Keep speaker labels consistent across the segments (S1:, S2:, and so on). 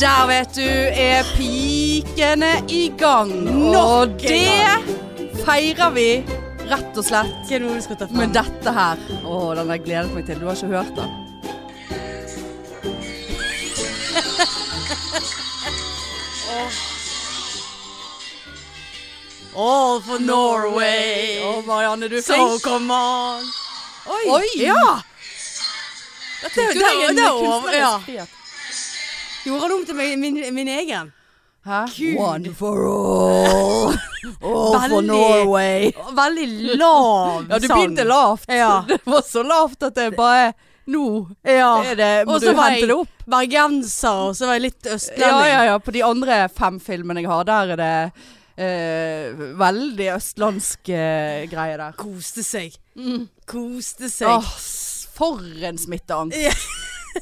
S1: Der, vet du, er pikene i gang. og
S2: en
S1: det feirer vi rett og slett
S2: Hva er det du skal ta
S1: med dette her. Å, den har jeg gledet meg til. Du har ikke hørt den.
S2: All for Norway.
S1: Å, Marianne, du er
S2: So
S1: flink.
S2: come on. Oi.
S1: Oi!
S2: Ja.
S1: Det
S2: Det, det, det, det, ja.
S1: ja.
S2: Gjorde han om til min, min, min egen?
S1: Hæ?
S2: Gud.
S1: One for all. All for
S2: Veldig-
S1: Norway.
S2: Veldig lav
S1: Ja, du begynte lavt.
S2: Ja.
S1: Det var så lavt at det bare Nå
S2: Ja.
S1: er det, må
S2: Og
S1: du
S2: så var
S1: hente
S2: jeg
S1: det opp.
S2: bergenser, og så var jeg litt
S1: Ja,
S2: østlending.
S1: ja, ja. På de andre fem filmene jeg har, der er det eh, veldig østlandsk eh, greie der.
S2: Koste seg.
S1: Mm.
S2: Koste seg.
S1: Åh, s- for en smitteangst.
S2: Ja.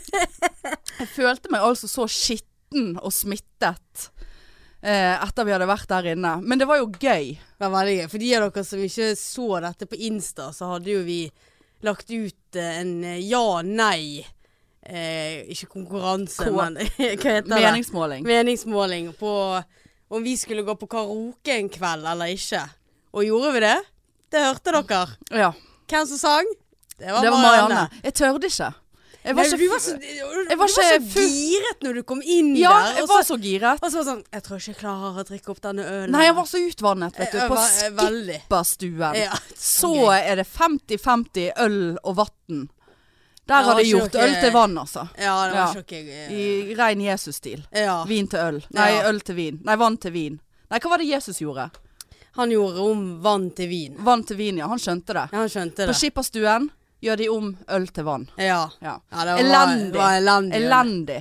S1: jeg følte meg altså så skitten og smittet eh, etter vi hadde vært der inne. Men det var jo gøy.
S2: Det var veldig gøy. For de av dere som ikke så dette på Insta, så hadde jo vi lagt ut eh, en eh, ja-nei eh, Ikke konkurranse,
S1: Kå-
S2: men hva heter det?
S1: Meningsmåling.
S2: Meningsmåling på om vi skulle gå på karaoke en kveld eller ikke. Og gjorde vi det? Det hørte dere.
S1: Ja.
S2: Hvem som sang? Det var,
S1: Det var
S2: Marianne.
S1: Marianne. Jeg tørde ikke. Jeg
S2: Nei,
S1: var
S2: du var
S1: ikke
S2: så,
S1: jeg var
S2: du var så
S1: ikke full-
S2: giret når du kom inn
S1: Ja,
S2: der.
S1: jeg
S2: Og så,
S1: var så giret.
S2: og så var det sånn Jeg tror ikke jeg klarer å drikke opp denne ølen.
S1: Nei, jeg var så utvannet, vet du.
S2: Jeg
S1: På
S2: var- eh, jeg var veldig.
S1: skipperstuen.
S2: Ja.
S1: Så
S2: Ok.
S1: er det 50-50 øl og vann. Der
S2: Ja,
S1: har de
S2: ikke
S1: gjort
S2: noe-
S1: øl til vann, altså.
S2: Ja, det
S1: Ja.
S2: var ikke jeg eh,
S1: I rein Jesus-stil.
S2: Ja.
S1: Vin til øl. Nei,
S2: Ja.
S1: øl til vin. Nei, vann til vin. Nei, hva var det Jesus gjorde?
S2: Han gjorde om vann til vin.
S1: Vann til vin, ja. Han skjønte det.
S2: Ja, han skjønte
S1: På
S2: det.
S1: skipperstuen gjør de om øl til vann.
S2: Ja.
S1: Ja.
S2: ja det var,
S1: Elendig.
S2: Det var elendig.
S1: Elendig.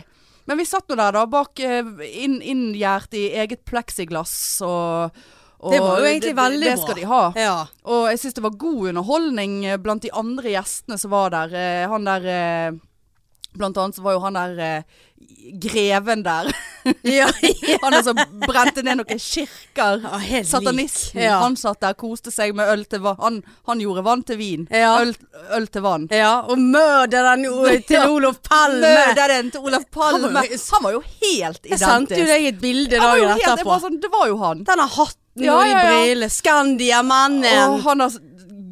S1: Men vi satt nå der da, bak eh, inn, inngjerdt i eget pleksiglass og, og
S2: Det var jo egentlig
S1: det-
S2: veldig
S1: Det
S2: bra.
S1: skal de ha.
S2: Ja.
S1: Og jeg syns det var god underholdning eh, blant de andre gjestene som var der. Eh, Han der eh, Blant annet så var jo han der eh, greven der.
S2: ja.
S1: Han der som brente ned noen kirker.
S2: Ja, helt lik.
S1: Satanisten.
S2: Ja.
S1: Han satt der, koste seg med øl til vann. Han, han gjorde vann til vin.
S2: Ja.
S1: Øl, øl til vann.
S2: ja. Og mørderen o- til
S1: Ja.
S2: Olof Palme.
S1: Mørderen til Olaf Palme.
S2: Han var
S1: Han var jo helt identisk.
S2: Jeg sendte jo deg et bilde
S1: Han var jo
S2: dagen
S1: helt, jeg
S2: etterpå.
S1: var sånn, det var jo han.
S2: Denne hatten
S1: Ja,
S2: og de
S1: ja, ja.
S2: brillene. Skandiamannen.
S1: Og han er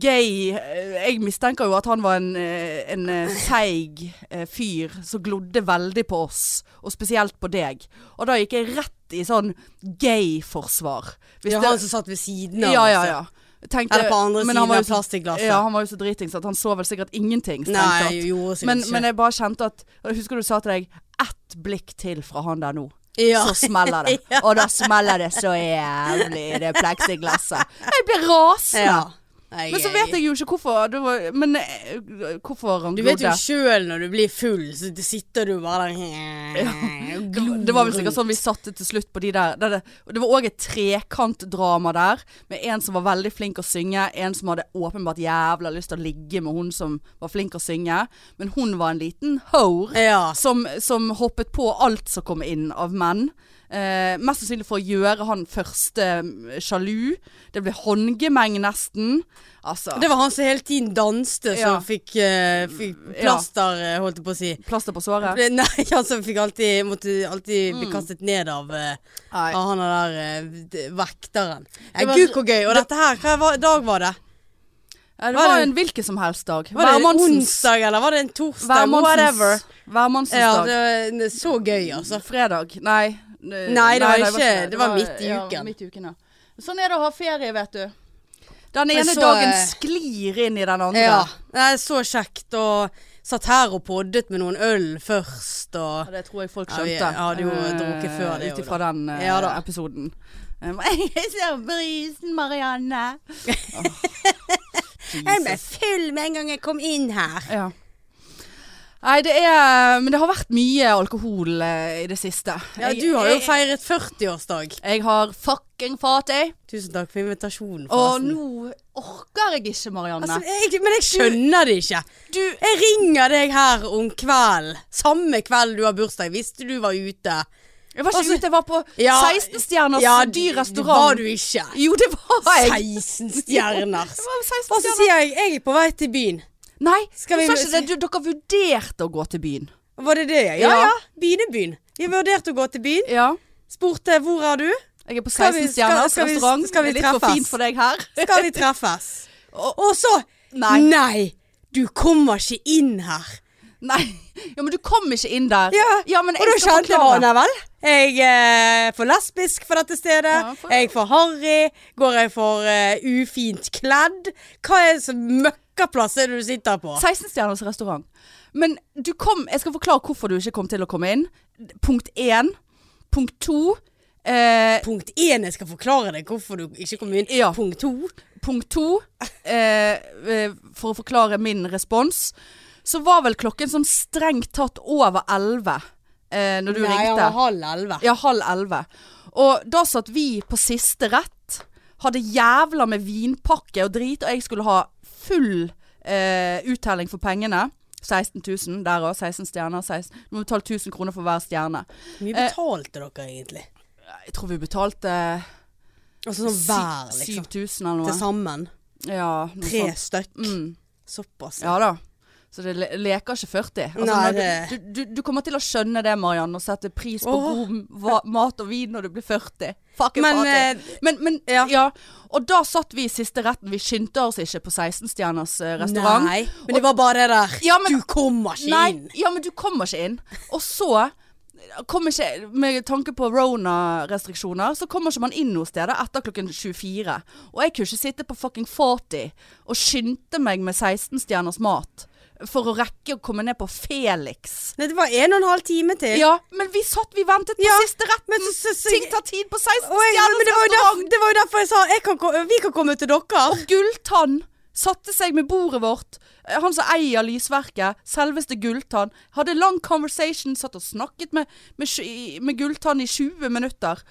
S1: gay eh, Jeg mistenker jo at han var en, eh, en eh, seig eh, fyr som glodde veldig på oss, og spesielt på deg. Og da gikk jeg rett i sånn gay-forsvar. Hvis
S2: Ja,
S1: det-
S2: han som satt ved siden av.
S1: ja, ja,
S2: altså.
S1: ja. Tenkte,
S2: Eller på andre
S1: men han
S2: siden
S1: var jo
S2: av
S1: så-
S2: plastglasset.
S1: Ja, han var jo så dritings at han så vel sikkert ingenting. strengt
S2: Nei,
S1: tatt.
S2: gjorde sikkert
S1: men,
S2: ikke.
S1: men jeg bare kjente at og Jeg husker du sa til deg ett blikk til fra han der nå.
S2: Ja.
S1: Så smeller det. Og da smeller det så jævlig i det pleksiglasset. Jeg blir rasende.
S2: Ja. Nei,
S1: Men så vet jeg jo ikke hvorfor det var, Men eh, hvorfor han
S2: Du vet jo
S1: glodde.
S2: sjøl når du blir full, så d- sitter du bare der og
S1: Det var- Det var vel sikkert sånn vi satte til slutt på de der. der det, og det var òg et trekantdrama der, med en som var veldig flink å synge, en som hadde åpenbart jævla lyst til å ligge med hun som var flink å synge, men hun var en liten hore.
S2: Ja.
S1: Som, som hoppet på alt som kom inn av menn. Eh, mest sannsynlig for å gjøre han første mm, sjalu. Det ble håndgemeng nesten. Altså
S2: Det var han som hele tiden danste,
S1: Ja.
S2: som fikk, eh, fikk plaster, eh, holdt jeg på å si.
S1: Plaster på såret.
S2: Det- Nei, han som fikk alltid, måtte alltid bli kastet ned av, eh,
S1: Mm. Nei.
S2: av han der eh, d- vekteren. Eh,
S1: Det var-
S2: Gud, hvor gøy. Og dette her, hva var- dag var det?
S1: Ja, det
S2: Var
S1: var
S2: det-
S1: en hvilken som helst dag.
S2: Var det en
S1: Værmannsens-
S2: onsdag, eller var det en torsdag?
S1: Værmannsens-
S2: Whatever.
S1: Værmannsens
S2: Ja,
S1: dag.
S2: det var så gøy, altså.
S1: Fredag. Nei. Nei,
S2: det var ikke- det var midt i
S1: Ja,
S2: uken.
S1: midt i uken ja. Sånn er det å ha ferie, vet du. Den
S2: Men
S1: ene
S2: så,
S1: dagen
S2: eh,
S1: sklir inn i den andre.
S2: Ja. Nei, så kjekt. Og satt her og poddet med noen øl først, og
S1: Ja, Det tror jeg folk
S2: Ja, vi
S1: skjønte. Eh,
S2: hadde jo drukket før det,
S1: Ut
S2: jo
S1: ifra den eh,
S2: Ja da.
S1: episoden. Um, Jeg ser brisen, Marianne.
S2: Jeg ble full med en gang jeg kom inn her.
S1: Ja. Nei, det er Men det har vært mye alkohol eh, i det siste.
S2: Ja,
S1: Jeg-
S2: du har jo
S1: jeg-
S2: feiret 40-årsdag.
S1: Jeg har fucking fatøy.
S2: Tusen takk for invitasjonen,
S1: Og
S2: forresten.
S1: nå orker jeg ikke, Marianne.
S2: Altså, jeg, men jeg skjønner det ikke.
S1: du
S2: Jeg ringer deg her om kvelden. Samme kveld du har bursdag. Visste du var ute.
S1: Jeg var ikke
S2: Altså,
S1: ute, jeg var på
S2: ja,
S1: 16-stjerners dyr
S2: Det var
S1: restaurant.
S2: du ikke.
S1: Jo, det var jeg.
S2: 16 stjerners.
S1: Det var 16
S2: Og så
S1: stjerner.
S2: sier jeg jeg er på vei til byen.
S1: Nei,
S2: Skal vi-
S1: du sa ikke det. Du, dere vurderte å gå til byen.
S2: Var det det?
S1: Ja.
S2: Begynne byen. Vi vurderte å gå til byen.
S1: Ja.
S2: Spurte 'Hvor er du?'
S1: Jeg er på
S2: Skal vi-
S1: 16 stjerners
S2: skal- skal vi-
S1: restaurant.
S2: skal vi
S1: det er litt for
S2: treffes?
S1: fint for deg her.
S2: Skal vi treffes?
S1: Og-
S2: Og så
S1: Nei.
S2: Nei! Du kommer ikke inn her.
S1: Nei. Ja, men du kom ikke inn der.
S2: Ja,
S1: men
S2: Og da
S1: jeg skal
S2: kjente
S1: forklare.
S2: han vel. Jeg eh, for lesbisk for dette stedet.
S1: Ja, for-
S2: Er jeg for harry? Går jeg for eh, ufint kledd? Hva er det som møkkaplass er det du sitter på?
S1: 16 stjerners altså, restaurant. Men du kom Jeg skal forklare hvorfor du ikke kom til å komme inn. Punkt én. Punkt to. Eh,
S2: Punkt én, jeg skal forklare deg hvorfor du ikke kom inn.
S1: Ja.
S2: Punkt to.
S1: punkt to. Eh, eh, for å forklare min respons. Så var vel klokken sånn strengt tatt over elleve eh, når du
S2: Nei, han
S1: ringte.
S2: var halv elleve.
S1: Ja, halv elleve. Og da satt vi på siste rett. Hadde jævla med vinpakke og drit, og jeg skulle ha full eh, uttelling for pengene. 16 000 der òg. 16 stjerner. 16. Du må betale 1000 kroner for hver stjerne.
S2: Hvor
S1: Eh,
S2: mye betalte dere egentlig?
S1: Jeg tror vi betalte
S2: Altså sånn hver,
S1: sy-
S2: liksom.
S1: 7000 eller
S2: Til
S1: noe.
S2: sammen.
S1: Ja, noe
S2: Tre
S1: sånt.
S2: stykk.
S1: Mm.
S2: Såpass.
S1: Ja da. Så det le leker ikke 40. Altså,
S2: altså. Nei,
S1: når du, du, du, du kommer til å skjønne det, Mariann, og sette pris på
S2: Åh.
S1: god va mat og vin når du blir 40. Fuck
S2: Men,
S1: men,
S2: eh,
S1: men, men ja.
S2: ja.
S1: Og da satt vi i siste retten. Vi skyndte oss ikke på 16-stjerners eh, restaurant.
S2: Nei, men det var bare det der.
S1: Ja, men-
S2: du kommer ikke
S1: Nei,
S2: inn.
S1: ja, men du kommer ikke inn. Og så kom ikke Med tanke på Rona-restriksjoner, så kommer ikke man inn noe sted etter klokken 24. Og jeg kunne ikke sitte på fucking 40 og skynde meg med 16-stjerners mat for å rekke å komme ned på Felix.
S2: Nei, det var en og en halv time til.
S1: Ja, men vi satt, vi ventet på
S2: Eh. Ja,
S1: siste retten.
S2: men så- så- så-
S1: Ting tar tid på 16
S2: Og jeg, men
S1: stjerners
S2: det, var jo
S1: restaurant.
S2: derfor, det var jo derfor jeg sa jeg kan, ko- vi kan komme til dere.
S1: Gulltann satte seg med bordet vårt. Eh, Han som eier lysverket, selveste Gulltann, hadde lang conversation, satt og snakket med, med, sj- i- med Gulltann i 20 minutter.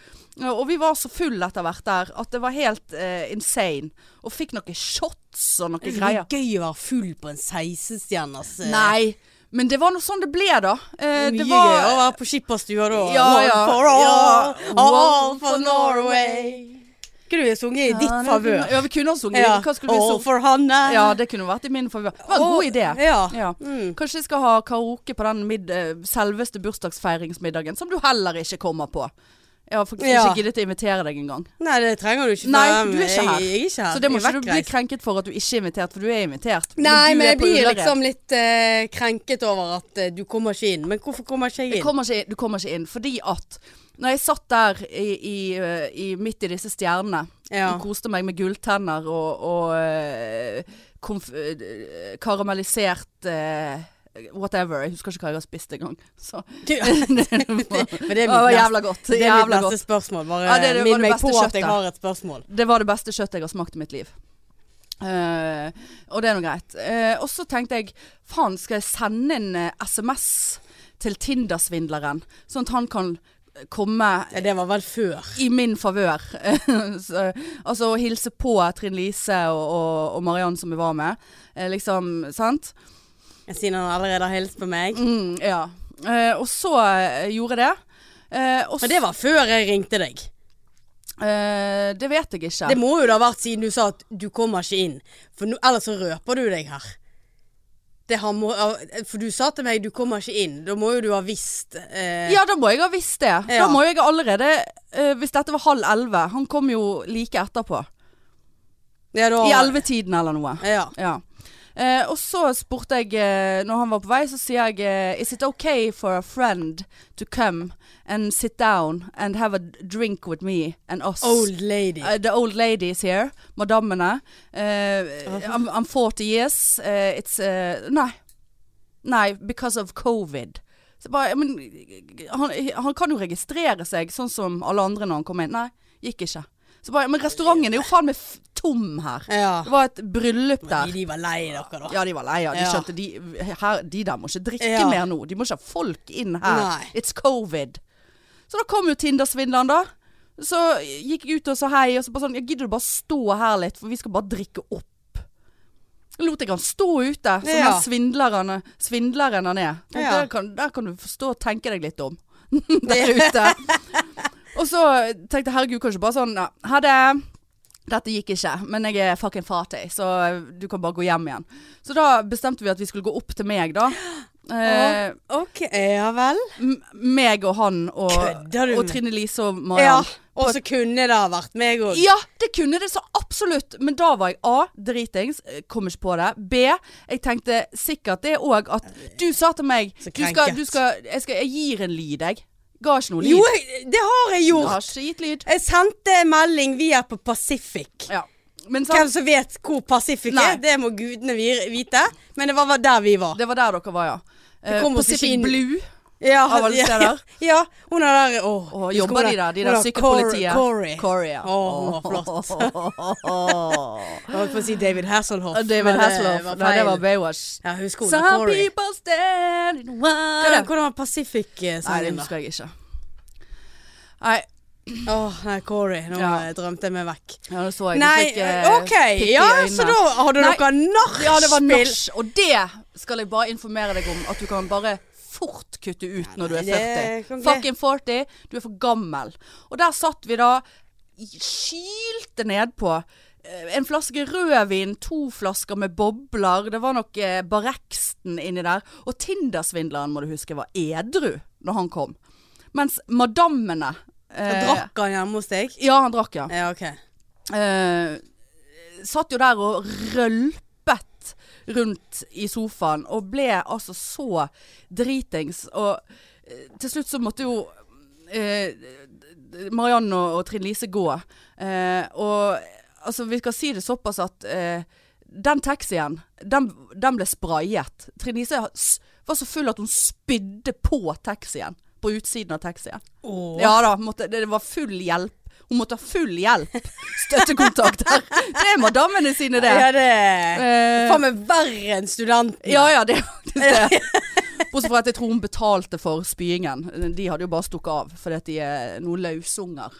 S1: Eh, Og vi var så full etter hvert der at det var helt eh, insane. Og fikk noen shots og noen
S2: Det
S1: greier.
S2: er gøy å være full på en 16-stjerners eh,
S1: Nei, men det var nå sånn det ble, da. Eh,
S2: Mye
S1: det var
S2: gøy å være på skipperstua da.
S1: Ja,
S2: One
S1: ja.
S2: for all,
S1: Ja.
S2: all for Norway. Kunne vi sunget i ditt favør?
S1: Ja, vi kunne ha sunget.
S2: Ja.
S1: Hva skulle vi
S2: All
S1: sunget?
S2: for Hanne.
S1: Ja, det kunne vært i min favør. Det var en god
S2: All-
S1: idé.
S2: Ja.
S1: Ja.
S2: Mm.
S1: Kanskje jeg skal ha karaoke på den mid eh, selveste bursdagsfeiringsmiddagen, som du heller ikke kommer på. Jeg har faktisk
S2: Ja.
S1: ikke giddet å invitere deg engang.
S2: Nei, det trenger du ikke.
S1: Nei,
S2: for,
S1: du er ikke her.
S2: Jeg, jeg er ikke her.
S1: Så det må
S2: Jeg er
S1: ikke du bli
S2: vekkreist.
S1: krenket for at du ikke er invitert, for du er invitert.
S2: Nei,
S1: du
S2: men
S1: er
S2: jeg
S1: på
S2: blir
S1: Ullared.
S2: liksom litt eh, krenket over at eh, du kommer ikke inn. Men hvorfor kommer ikke jeg
S1: Jeg
S2: inn?
S1: kommer ikke, Du kommer ikke inn, fordi at når jeg satt der i, i, eh, i, midt i disse stjernene
S2: Ja.
S1: og koste meg med gulltenner og, og eh, konf eh, karamellisert eh, whatever. Jeg husker ikke hva jeg har spist engang. Så
S2: Du-
S1: det, var,
S2: Men det er
S1: det var
S2: mitt neste,
S1: jævla godt.
S2: det er mitt
S1: Jævla
S2: neste
S1: godt.
S2: spørsmål. Bare
S1: Ja, det er det- var
S2: minn
S1: det
S2: meg
S1: beste
S2: på at
S1: kjøttet.
S2: jeg har et spørsmål.
S1: Det var det beste kjøttet jeg har smakt i mitt liv. Eh, og det er nå greit. Eh, og så tenkte jeg faen, skal jeg sende en eh, SMS til Tinder-svindleren, sånn at han kan komme
S2: Ja, det var vel før.
S1: i min favør. Så, altså å hilse på Trine Lise og, og, og Mariann som vi var med. Eh, liksom, sant?
S2: Siden han allerede har hilst på meg.
S1: Mm, ja. Eh, og så eh, gjorde jeg det. Eh, og
S2: Men det var før jeg ringte deg.
S1: så- eh, det vet jeg ikke.
S2: Det må jo da ha vært siden du sa at du kommer ikke inn. For nå, ellers så røper du deg her. Det har må, for du sa til meg du kommer ikke inn. Da må jo du ha visst eh,
S1: Ja, da må jeg ha visst det. Da
S2: Ja.
S1: må jeg allerede eh, Hvis dette var halv elleve Han kom jo like etterpå.
S2: ja, da,
S1: I ellevetiden eller noe.
S2: Ja.
S1: Ja. Eh, og så spurte jeg, eh, når han var på vei, så sier jeg eh, Is it okay for a friend to come and sit down and have a drink with me and us?
S2: Old lady.
S1: Uh, the old ladies here, madammene. Uh, I'm, I'm 40 years. Uh, it's uh, Nei. Nei, because of covid. Så bare, men, han, han kan jo registrere seg, sånn som alle andre når han kom inn. Nei, gikk ikke. Så bare, men restauranten er jo faen meg f- tom her.
S2: Ja.
S1: Det var et bryllup
S2: De,
S1: der.
S2: de var lei dere, da.
S1: Ja, de var lei av De
S2: Ja.
S1: skjønte de, her, de der må ikke drikke
S2: Ja.
S1: mer nå. De må ikke ha folk inn her.
S2: Nei.
S1: It's covid. Så da kom jo Tinder-svindleren, da. Så gikk jeg ut og sa hei, og så bare sånn ja, Gidder du bare stå her litt, for vi skal bare drikke opp. Lot jeg han stå ute, som
S2: Ja.
S1: den svindleren, svindleren han er. Tenkte,
S2: Ja.
S1: Der, kan, der kan du forstå og tenke deg litt om. Der ute. og så tenkte jeg herregud, kanskje bare sånn ja, Ha det. Dette gikk ikke, men jeg er fucking fattig, så du kan bare gå hjem igjen. Så da bestemte vi at vi skulle gå opp til meg, da. Eh,
S2: OK, ja vel.
S1: m- meg og han og,
S2: Kødder du?
S1: og Trine Lise og
S2: Ja.
S1: Mariann.
S2: Og så kunne det ha vært meg òg.
S1: Ja, det kunne det så absolutt. Men da var jeg A. Dritings. eh, Kom ikke på det. B. Jeg tenkte sikkert det òg at Du sa til meg
S2: Så
S1: du skal,
S2: krenket.
S1: du skal, jeg, skal, jeg gir en lyd, jeg. Ga ikke noe lyd.
S2: Jo, jeg- det har jeg
S1: Jeg
S2: gjort.
S1: har ikke gitt lyd.
S2: Jeg sendte en melding via på Pacific.
S1: Ja. Men sant,
S2: Hvem som vet hvor Pacific
S1: Sånn. Nei.
S2: er, det må gudene vi- vite. Men det var var der vi var.
S1: det var der dere var, ja. Eh,
S2: kom oss
S1: Pacific
S2: ikke inn.
S1: Blue.
S2: Ja,
S1: Av alle
S2: ja,
S1: steder.
S2: Ja, hun er der Å,
S1: Og
S2: husker
S1: jobber
S2: hun
S1: de der, de
S2: hun
S1: der
S2: er
S1: sykepolitiet?
S2: Corey. Corey.
S1: Corey, ja.
S2: Å, hun var
S1: flott.
S2: Jeg holdt på å si David Hasselhoff. men
S1: David
S2: det
S1: Hasselhoff.
S2: var
S1: Nei, det
S2: feil.
S1: var Baywatch.
S2: Ja, husker hun er
S1: Some
S2: Corey.
S1: people stand in
S2: Hva er det-
S1: one
S2: Hvordan var
S1: Nei, det
S2: Pacific-sangen da?
S1: husker jeg ikke. Nei,
S2: Åh, nei, Corey. Nå
S1: Ja.
S2: eh, drømte jeg meg vekk.
S1: ja, nå så jeg
S2: Nei,
S1: du fikk, eh,
S2: OK.
S1: pikk i
S2: Ja,
S1: øynene.
S2: så da hadde
S1: Nei.
S2: dere nachspiel.
S1: Ja, det var nach, og det skal jeg bare informere deg om. At du kan bare fort kutte ut når du er
S2: nei, det
S1: 40.
S2: kan ikke-
S1: Fucking 40. Du er for gammel. Og der satt vi da, i- kylte nedpå. eh, En flaske rødvin, to flasker med bobler, det var nok eh, Barreksten inni der. Og Tindersvindleren, må du huske, var edru når han kom. Mens madammene
S2: Da
S1: eh,
S2: Drakk han hjemme hos deg?
S1: Ja, han drakk, ja
S2: Ja, OK.
S1: eh, satt jo der og rølpet rundt i sofaen og ble altså så dritings. Og eh, til slutt så måtte jo eh, Marianne og, og Trine Lise gå. Eh, og altså, vi skal si det såpass at eh, den taxien, den, den ble sprayet. Trine Lise s- var så full at hun spydde på taxien. På utsiden av taxien.
S2: Åh.
S1: Ja da, måtte, det var full hjelp. Hun måtte ha full hjelp. Støttekontakt her. Det er madammene sine, det.
S2: Ja, det
S1: Eh,
S2: Faen meg verre enn studenten.
S1: ja ja, det er faktisk det. Bortsett fra at jeg tror hun betalte for spyingen. De hadde jo bare stukket av fordi at de er noen lausunger,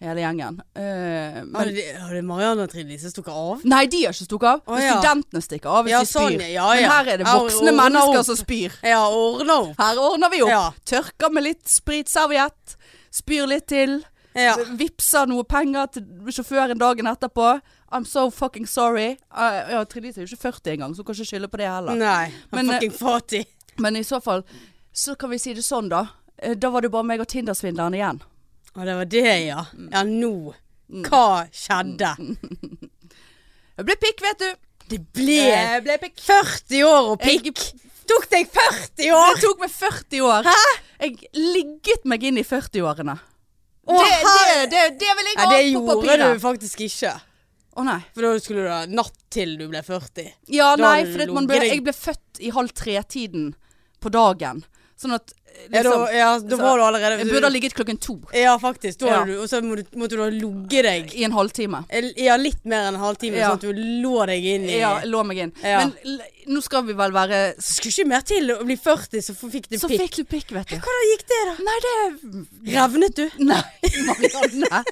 S1: hele gjengen. Eh,
S2: Hadde,
S1: men,
S2: de- hadde Marianne og Trine Lise stukket av?
S1: nei, de har ikke stukket av.
S2: Å, ja.
S1: Studentene stikker av hvis
S2: Ja,
S1: de spyr.
S2: sånn, ja, ja.
S1: Men her er det
S2: Ja,
S1: voksne
S2: og- og-
S1: mennesker som spyr.
S2: Ja, ordna opp.
S1: Her ordner vi opp.
S2: Ja.
S1: Tørker med litt spritserviett. Spyr litt til.
S2: Ja.
S1: Vipser noe penger til sjåføren dagen etterpå. I'm so fucking sorry. Eh, ja, Trine Lise er jo ikke 40 engang, så hun kan ikke skylde på det heller.
S2: Nei,
S1: Men,
S2: men, eh, fucking fattig.
S1: Men i så fall, så kan vi si det sånn da. Eh, Da var det bare meg og Tindersvindleren igjen.
S2: Å, det var det, ja. Ja, nå. Hva skjedde?
S1: Jeg ble pikk, vet du.
S2: Det ble
S1: Jeg ble pikk.
S2: 40 år og pikk. Tok deg 40 år?
S1: Det tok meg 40 år. Hæ? Jeg ligget meg inn i 40-årene.
S2: Å,
S1: det, det,
S2: herre-
S1: det, det vil jeg
S2: Nei,
S1: ha
S2: det
S1: på
S2: gjorde du
S1: papiret.
S2: faktisk ikke.
S1: Å nei.
S2: For da skulle du ha natt til du ble 40.
S1: Ja,
S2: Da
S1: nei,
S2: hadde
S1: for
S2: du
S1: at man ble,
S2: ligget deg-
S1: jeg ble født i halv tre-tiden på dagen. Sånn at eh,
S2: Ja, da,
S1: liksom,
S2: ja, da
S1: så-
S2: var du allerede
S1: Jeg burde ha ligget klokken to
S2: Ja, faktisk. Da
S1: Ja.
S2: hadde du, og så må du- måtte du ha ligget deg
S1: i en halvtime.
S2: Ja, litt mer enn en halvtime,
S1: Ja.
S2: sånn at du lå deg inn i
S1: Ja, jeg lå meg inn.
S2: Ja.
S1: Men l- nå skal vi vel være
S2: Skulle ikke mer til å bli 40, så fikk du
S1: Så
S2: pikk.
S1: fikk du pikk, vet du.
S2: Hvordan gikk det, da?
S1: Nei, det
S2: Revnet du?
S1: Nei, Marianne.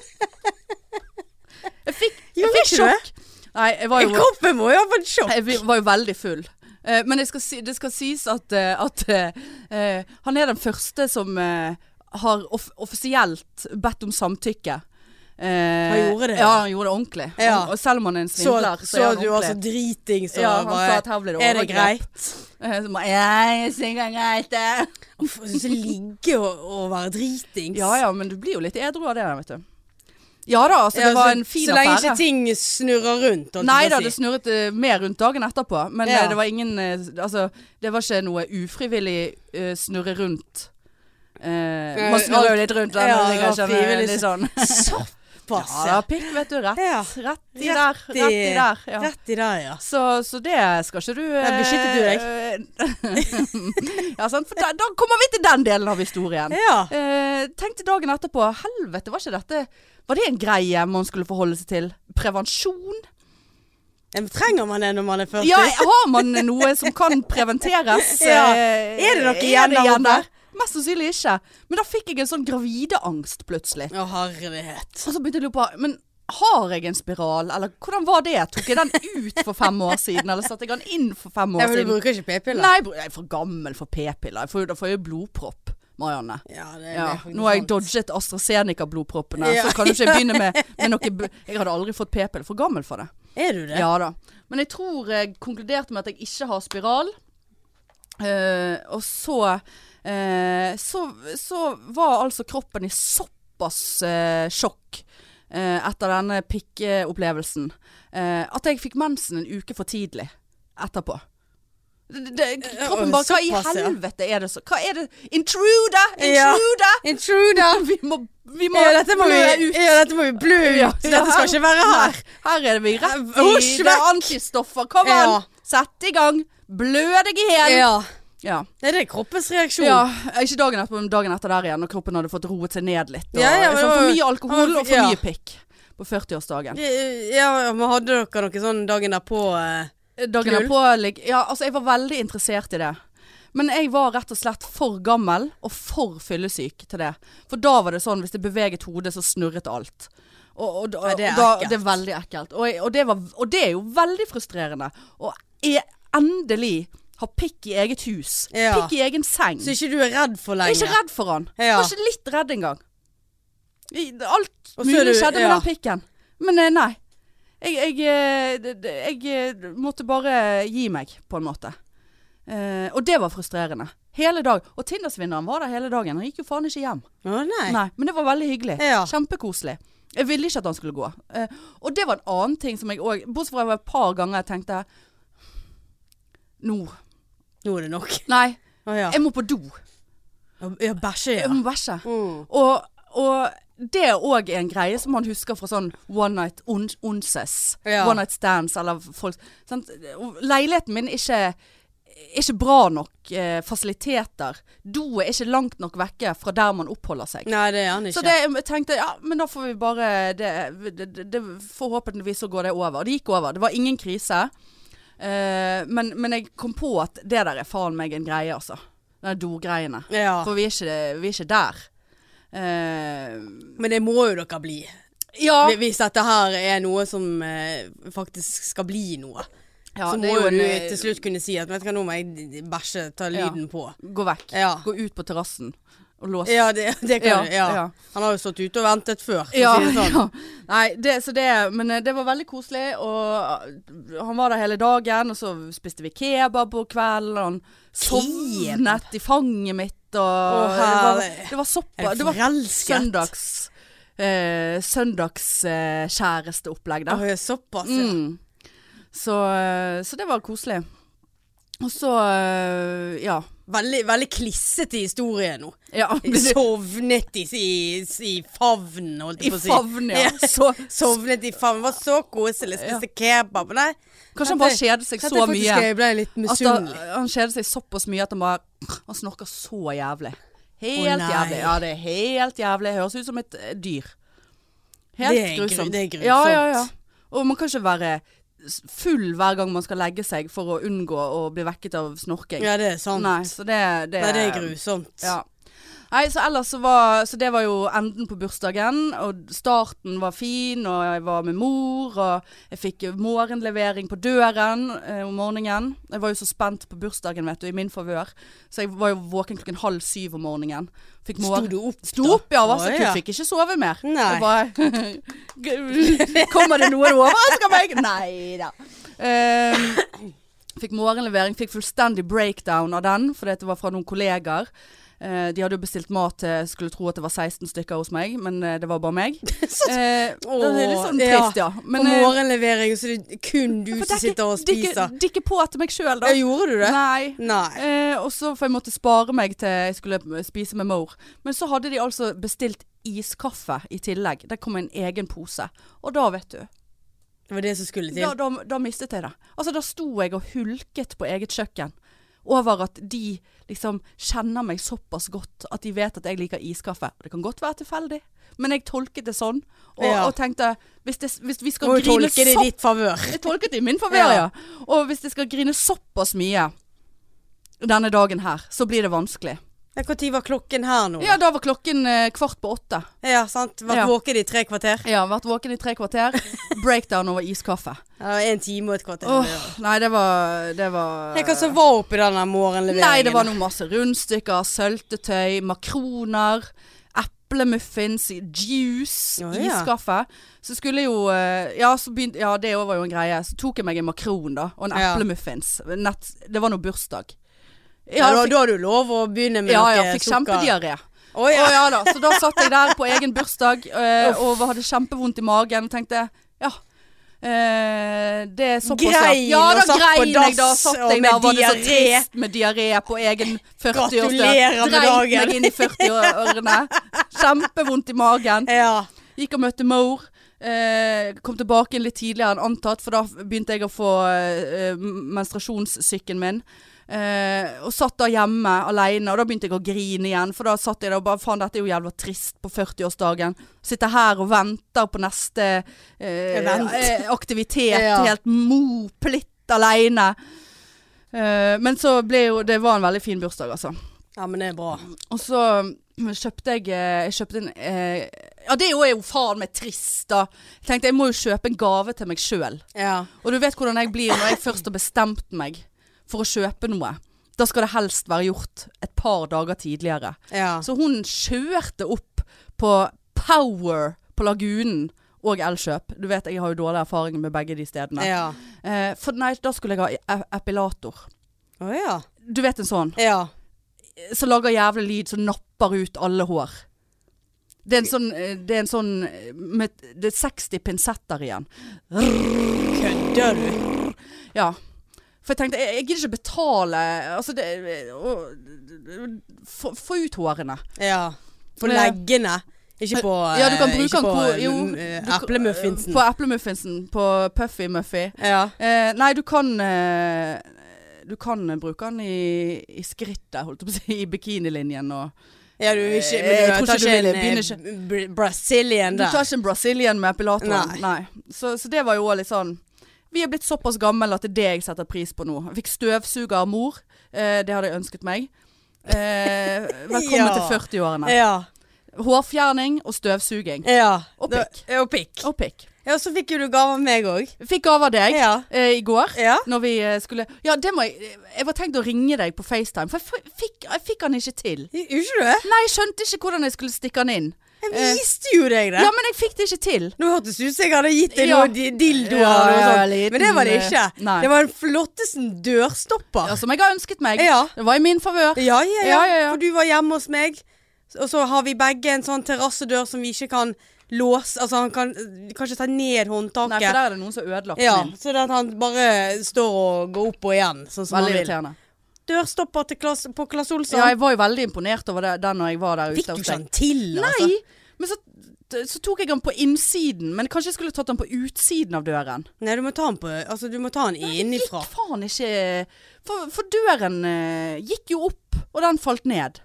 S1: Jeg fikk, jeg
S2: Gjorde
S1: fikk
S2: ikke du
S1: sjokk. Nei, jeg var jo,
S2: Kroppen må jo ha fått sjokk.
S1: jeg var jo veldig full. Eh, Men jeg skal si, det skal sies at, eh, at eh, eh, han er den første som eh, har off offisielt bedt om samtykke. Eh,
S2: Han gjorde det?
S1: Ja, han gjorde det ordentlig.
S2: Ja.
S1: Og selv om han er en
S2: Så,
S1: svindler, så,
S2: så
S1: er han
S2: du var så
S1: ordentlig.
S2: driting, så
S1: Ja, han sa
S2: bare
S1: at her ble det
S2: Er det
S1: overgrep.
S2: greit?
S1: Eh, Så bare, jeg er single, greit det.
S2: Uff, jeg syns det ligger å, å være dritings.
S1: Ja ja, men du blir jo litt edru av det, vet du. Ja da, altså.
S2: Ja,
S1: det var en fin
S2: så
S1: affære.
S2: lenge ikke ting snurrer rundt. holdt
S1: Nei
S2: jeg på
S1: da,
S2: å
S1: det
S2: si.
S1: snurret eh, mer rundt dagen etterpå. Men
S2: Ja.
S1: eh, det var ingen eh, Altså, det var ikke noe ufrivillig eh, snurre rundt. Eh,
S2: Eh,
S1: man snurrer jo
S2: alt-
S1: litt rundt den,
S2: ja,
S1: og det
S2: det
S1: kan
S2: var
S1: skjønne
S2: frivillig
S1: litt sånn.
S2: Såpass,
S1: Ja,
S2: ja.
S1: da, pikk, vet du. Rett,
S2: Ja.
S1: rett i der.
S2: Rett i-
S1: Rett i der. Ja.
S2: Rett i der, ja.
S1: Så, så det skal ikke du
S2: Nei, beskyttet du
S1: deg? ja, sant. For da, da kommer vi til den delen av historien.
S2: Ja.
S1: Eh, tenkte dagen etterpå Helvete, var ikke dette Var det en greie man skulle forholde seg til? Prevensjon?
S2: Men Trenger man det når man er 40?
S1: Ja, har man noe som kan preventeres?
S2: Ja.
S1: eh,
S2: Er det noe igjen der oppe?
S1: Mest sannsynlig ikke. Men da fikk jeg en sånn gravideangst plutselig.
S2: Å, herlighet.
S1: Og så begynte jeg å lure på Men har jeg en spiral, eller hvordan var det? Tok jeg den ut for fem år siden, eller satte jeg den inn for fem år
S2: Ja, men Altså, du
S1: siden?
S2: bruker ikke p-piller?
S1: Nei, bro, jeg er for gammel for p-piller. Jeg får jo- Da får jeg jo blodpropp, Marianne.
S2: Ja, det, det
S1: Ja,
S2: er faktisk
S1: nå har jeg
S2: sant.
S1: dodget AstraZeneca-blodproppene,
S2: Ja.
S1: så kan du ikke jeg begynne med, med noe bu- Jeg hadde aldri fått p-piller. For gammel for det.
S2: Er du det?
S1: Ja da. Men jeg tror jeg konkluderte med at jeg ikke har spiral. Eh, og så, eh, så Så var altså kroppen i såpass eh, sjokk eh, etter denne pikkeopplevelsen eh, at jeg fikk mensen en uke for tidlig etterpå. Det, det, kroppen bare Hva i
S2: Eh, såpass, ja.
S1: helvete er det så Hva er det Intruder!
S2: Ja.
S1: Intruder!
S2: Intruder!
S1: Vi må, vi må
S2: Ja, dette må vi,
S1: blø ut.
S2: ja, dette må vi blø ut.
S1: Ja, ja,
S2: dette skal ikke være her.
S1: Nei, Her er det vi rett i
S2: Husj
S1: det er
S2: vekk.
S1: antistoffer. Kom an!
S2: Ja.
S1: Sett i gang! Blø deg i hjel!
S2: Ja.
S1: Ja.
S2: Det er det kroppens reaksjon.
S1: Ja, ikke dagen etterpå, men dagen etter der igjen, når kroppen hadde fått roet seg ned litt. Og,
S2: Ja, ja,
S1: sånn,
S2: men det var
S1: for
S2: jo-
S1: mye
S2: han
S1: alkohol
S2: var-
S1: og for
S2: ja.
S1: mye pikk på 40-årsdagen.
S2: Ja, men hadde dere noe sånn dagen derpå? eh?
S1: Dagen
S2: Knull.
S1: derpå lig- Ja, altså, jeg var veldig interessert i det. Men jeg var rett og slett for gammel og for fyllesyk til det. For da var det sånn, hvis det beveget hodet, så snurret alt. Og, og, da-
S2: Nei, det er
S1: og da,
S2: ekkelt.
S1: det er veldig ekkelt. Og, jeg, og, det var, og det er jo veldig frustrerende. Og jeg endelig har pikk i eget hus.
S2: Ja.
S1: Pikk i egen seng.
S2: Så ikke du er redd
S1: Jeg
S2: for
S1: er
S2: lenge?
S1: ikke redd for han.
S2: Ja.
S1: Jeg var ikke litt redd engang. I- Alt
S2: Og så er
S1: mulig
S2: du-
S1: skjedde med
S2: ja.
S1: den pikken. Men eh, nei. Jeg, jeg, eh, det- det- jeg eh, måtte bare gi meg, på en måte. Eh, og det var frustrerende. Hele dag. Og Tindersvinneren var der hele dagen. Han gikk jo faen ikke hjem.
S2: Å nei.
S1: Nei, men det var veldig hyggelig.
S2: Ja.
S1: Kjempekoselig. Jeg ville ikke at han skulle gå. Eh, og det var en annen ting som jeg òg Bortsett fra et par ganger jeg tenkte Nå.
S2: Nå er det nok.
S1: Nei,
S2: Å ja.
S1: jeg må på do.
S2: Ja, bæsje, ja.
S1: Jeg må bæsje.
S2: Mm.
S1: Og, og det er òg en greie som man husker fra sånn one night on onces.
S2: Ja.
S1: One night stands eller folk sant? Og Leiligheten min er ikke, er ikke bra nok eh, fasiliteter. Do er ikke langt nok vekke fra der man oppholder seg.
S2: Nei, det er han ikke.
S1: Så det, jeg tenkte ja, men da får vi bare det, det, det, det, Forhåpentligvis så går det over. Og det gikk over. Det var ingen krise. Eh, men, men jeg kom på at det der er faen meg en greie, altså. Den dogreiene.
S2: Ja.
S1: For vi er ikke, vi er ikke der. Eh,
S2: Men det må jo dere bli.
S1: ja,
S2: Hvis dette her er noe som eh, faktisk skal bli noe,
S1: ja,
S2: så
S1: det er
S2: må
S1: jo
S2: jo
S1: en,
S2: du
S1: eh,
S2: til slutt kunne si at vet du hva, nå må jeg d- d- bæsje, ta
S1: Ja.
S2: lyden på.
S1: Gå vekk.
S2: Ja.
S1: Gå ut på terrassen og lås
S2: Ja, det, det kan
S1: Ja,
S2: du. Ja.
S1: ja.
S2: Han har jo stått ute og ventet før, for
S1: Ja,
S2: å si det sånn.
S1: ja. Nei, det, så det, men eh, det var veldig koselig, og eh, han var der hele dagen, og så spiste vi kebab på kvelden, og han sovnet i fanget mitt, og
S2: Å,
S1: det, var,
S2: herlig.
S1: det var
S2: Er
S1: såpass
S2: du
S1: Det var
S2: forelsket?
S1: søndags, eh, søndags eh, kjæresteopplegg, da.
S2: Å, ja, såpass, ja.
S1: Mm. Så, eh, så det var koselig. Og så eh, ja.
S2: Veldig, veldig klissete historie nå.
S1: ja.
S2: Sovnet i, i, i favnen, holdt
S1: I
S2: jeg på å si.
S1: favn, ja. Så,
S2: Sovnet i favnen. Var så koselig. Spiste kebab. Nei.
S1: kanskje han
S2: Dette-
S1: bare kjeder seg
S2: dette
S1: så mye.
S2: faktisk Jeg ble
S1: At
S2: litt
S1: han,
S2: misunnelig.
S1: han kjeder seg såpass mye at han bare Han snorker så jævlig. Helt
S2: Å, nei.
S1: jævlig. Ja, det er helt jævlig. Høres ut som et eh, dyr. Helt
S2: Det er gru-
S1: grusomt.
S2: det er grusomt.
S1: Ja, ja, ja. Og man kan ikke være s- full hver gang man skal legge seg for å unngå å bli vekket av snorking.
S2: Ja, det er sant.
S1: Nei, så det, det,
S2: Nei, det er grusomt.
S1: Ja. Nei, så ellers så var Så det var jo enden på bursdagen, og starten var fin, og jeg var med mor, og jeg fikk morgenlevering på døren eh, om morgenen. Jeg var jo så spent på bursdagen, vet du, i min favør, så jeg var jo våken klokken halv syv om morgenen. Fikk
S2: Sto du opp,
S1: Sto opp, ja. Var så
S2: Å,
S1: kul.
S2: ja.
S1: Fikk ikke sove mer.
S2: Nei.
S1: Jeg bare Kommer det noen og overrasker meg? Nei da. Ehm, fikk morgenlevering. Fikk fullstendig breakdown av den, fordi at det var fra noen kollegaer. Eh, de hadde jo bestilt mat til skulle tro at det var 16 stykker hos meg, men eh, det var bare meg. Eh, det er litt sånn
S2: Åh,
S1: trist, ja.
S2: på
S1: Men, eh,
S2: morgenlevering, så det er kun du
S1: for det er
S2: som
S1: ikke-
S2: sitter og
S1: det er ikke-
S2: spiser.
S1: Det er ikke på til meg sjøl, da.
S2: Ja, gjorde du det?
S1: Nei.
S2: Nei.
S1: Eh, og så for jeg måtte spare meg til jeg skulle eh, spise med mor. Men så hadde de altså bestilt iskaffe i tillegg. Der kom en egen pose. Og da, vet du,
S2: Det var det som skulle
S1: da,
S2: til.
S1: da, da mistet jeg det. Altså, da sto jeg og hulket på eget kjøkken. Over at de liksom kjenner meg såpass godt at de vet at jeg liker iskaffe. Det kan godt være tilfeldig, men jeg tolket det sånn. Og,
S2: Ja.
S1: og tenkte hvis, det, hvis vi skal
S2: Må jo
S1: grine
S2: tolke det i
S1: såpass
S2: ditt favør.
S1: jeg tolket det i min favør, ja.
S2: Ja.
S1: Og hvis det skal grine såpass mye denne dagen her, så blir det vanskelig.
S2: Når var klokken her nå?
S1: Ja, da var klokken eh, kvart på åtte.
S2: Ja, sant. Vært
S1: Ja.
S2: våken i tre kvarter.
S1: Ja, vært våken i tre kvarter. Breakdown over iskaffe.
S2: Ja, En time og et kvarter.
S1: Åh,
S2: Ja.
S1: nei, det var Det var
S2: Hva som var oppi den der morgenleveringen?
S1: Nei, det var noe masse rundstykker, søltetøy, makroner, eplemuffins, juice,
S2: Å, ja.
S1: iskaffe. Så skulle jo eh, Ja, så begynte, ja det var jo en greie. Så tok jeg meg en makron da, og en
S2: Ja.
S1: eplemuffins. Nett, det var nå bursdag.
S2: Ja, da,
S1: fikk-
S2: da har du lov å begynne med
S1: ja,
S2: noe
S1: ja, fikk
S2: sukker.
S1: kjempediaré.
S2: Å ja.
S1: Å ja da. Så da satt jeg der på egen bursdag eh, og hadde kjempevondt i magen og tenkte ja. eh, det er såpass ja.
S2: Grein
S1: ja,
S2: og
S1: da
S2: satt på
S1: grein jeg da.
S2: dass,
S1: Satt
S2: og
S1: jeg
S2: med
S1: der, var det så
S2: diaré.
S1: trist med diaré på egen 40-årsdag.
S2: Gratulerer med
S1: Dreit
S2: dagen.
S1: meg inn i 40-årene. Kjempevondt i magen.
S2: ja.
S1: Gikk og møtte mor. Eh, kom tilbake litt tidligere enn antatt, for da begynte jeg å få eh, menstruasjonssyken min. Eh, og satt da hjemme alene, og da begynte jeg å grine igjen. For da satt jeg der og bare faen, dette er jo jævla trist på 40-årsdagen. Sitter her og venter på neste eh,
S2: Event.
S1: eh, aktivitet,
S2: Ja.
S1: helt moplitt aleine. Eh, men så ble jo Det var en veldig fin bursdag, altså.
S2: ja, men det er bra.
S1: Og så mm, kjøpte jeg, eh, jeg kjøpte en eh, Ja, det er jo- er jo faen meg trist, da. Jeg tenkte jeg må jo kjøpe en gave til meg sjøl.
S2: Ja.
S1: Og du vet hvordan jeg blir når jeg først har bestemt meg for å kjøpe noe. Da skal det helst være gjort et par dager tidligere.
S2: ja.
S1: Så hun kjørte opp på Power på Lagunen og Elkjøp. Du vet jeg har jo dårlig erfaring med begge de stedene.
S2: ja.
S1: Eh, for nei, da skulle jeg ha e- epilator.
S2: Å ja.
S1: Du vet en sånn?
S2: Ja.
S1: som lager jævlig lyd som napper ut alle hår. Det er en sånn, eh, det er, en sånn eh, med, det er 60 pinsetter igjen.
S2: Kødder du?
S1: Ja. For jeg tenkte, jeg, jeg gidder ikke betale Altså, det og- Få få ut hårene.
S2: Ja. På
S1: Ja.
S2: leggene. Ikke på
S1: Ja, du kan
S2: eh,
S1: bruke
S2: ikke
S1: den
S2: på,
S1: hvor-
S2: eh,
S1: jo,
S2: m- eh, Eplemuffinsen.
S1: På eplemuffinsen. På Puffy Muffy.
S2: Ja.
S1: Eh, nei, du kan eh, Du kan eh, bruke den i, i skrittet, holdt jeg på å si. I bikinilinjen og
S2: ja, du vil ikke men
S1: Eh, Jeg
S2: du
S1: tror
S2: tar
S1: ikke du vil- begynner
S2: ikke en eh, br- Brazilian
S1: Du tar
S2: der.
S1: ikke en Brazilian med epilatoren?
S2: Nei.
S1: Nei. Så, så det var jo også litt sånn Vi er blitt såpass gamle at det er det jeg setter pris på nå. Jeg fikk støvsuger av mor. Eh, det hadde jeg ønsket meg. Eh, velkommen
S2: Ja. Eh.
S1: til 40-årene.
S2: Ja.
S1: Hårfjerning og støvsuging.
S2: ja.
S1: Og
S2: Da-
S1: pikk.
S2: Ja, Og pikk.
S1: Og pikk.
S2: Ja, så fikk jo du gave av meg òg.
S1: Jeg Fikk gave av deg
S2: Ja.
S1: eh, i går.
S2: Ja.
S1: Når vi eh, skulle Ja, det må jeg Jeg var tenkt å ringe deg på FaceTime, for jeg f- fikk, jeg fikk han ikke til.
S2: Gjorde ikke du det?
S1: Nei, jeg skjønte ikke hvordan jeg skulle stikke han inn.
S2: Jeg
S1: Eh.
S2: viste jo deg det.
S1: Ja, men jeg fikk det ikke til.
S2: Nå hørtes det ut som jeg hadde gitt deg
S1: Ja.
S2: noen di- dildoer
S1: Ja,
S2: og
S1: ja,
S2: sånt,
S1: liten,
S2: men det var det ikke.
S1: eh, nei.
S2: Det var den flottesten dørstopper.
S1: Ja, Altså, som jeg har ønsket meg.
S2: Ja.
S1: Det var i min favør.
S2: Ja ja, ja,
S1: Ja, ja, ja.
S2: For du var hjemme hos meg, og så har vi begge en sånn terrassedør som vi ikke kan låse Altså, han kan, vi kan ikke ta ned
S1: Nei, for
S2: håndtaket.
S1: der er det noen som har ødelagt
S2: Ja,
S1: min.
S2: så det at han bare står og går opp og igjen, sånn som
S1: Veldig
S2: han vil.
S1: irriterende.
S2: Dørstopper til Klas, på Claes Olsson.
S1: Ja, jeg var jo veldig imponert over det, den når jeg var der ute.
S2: Fikk du
S1: hos
S2: ikke
S1: deg.
S2: han til, altså?
S1: Nei, men så, så tok jeg den på innsiden, men kanskje jeg skulle tatt den på utsiden av døren.
S2: Nei, du må ta han på Altså, du må ta han innifra.
S1: Gikk faen ikke For, for døren eh, gikk jo opp, og den falt ned.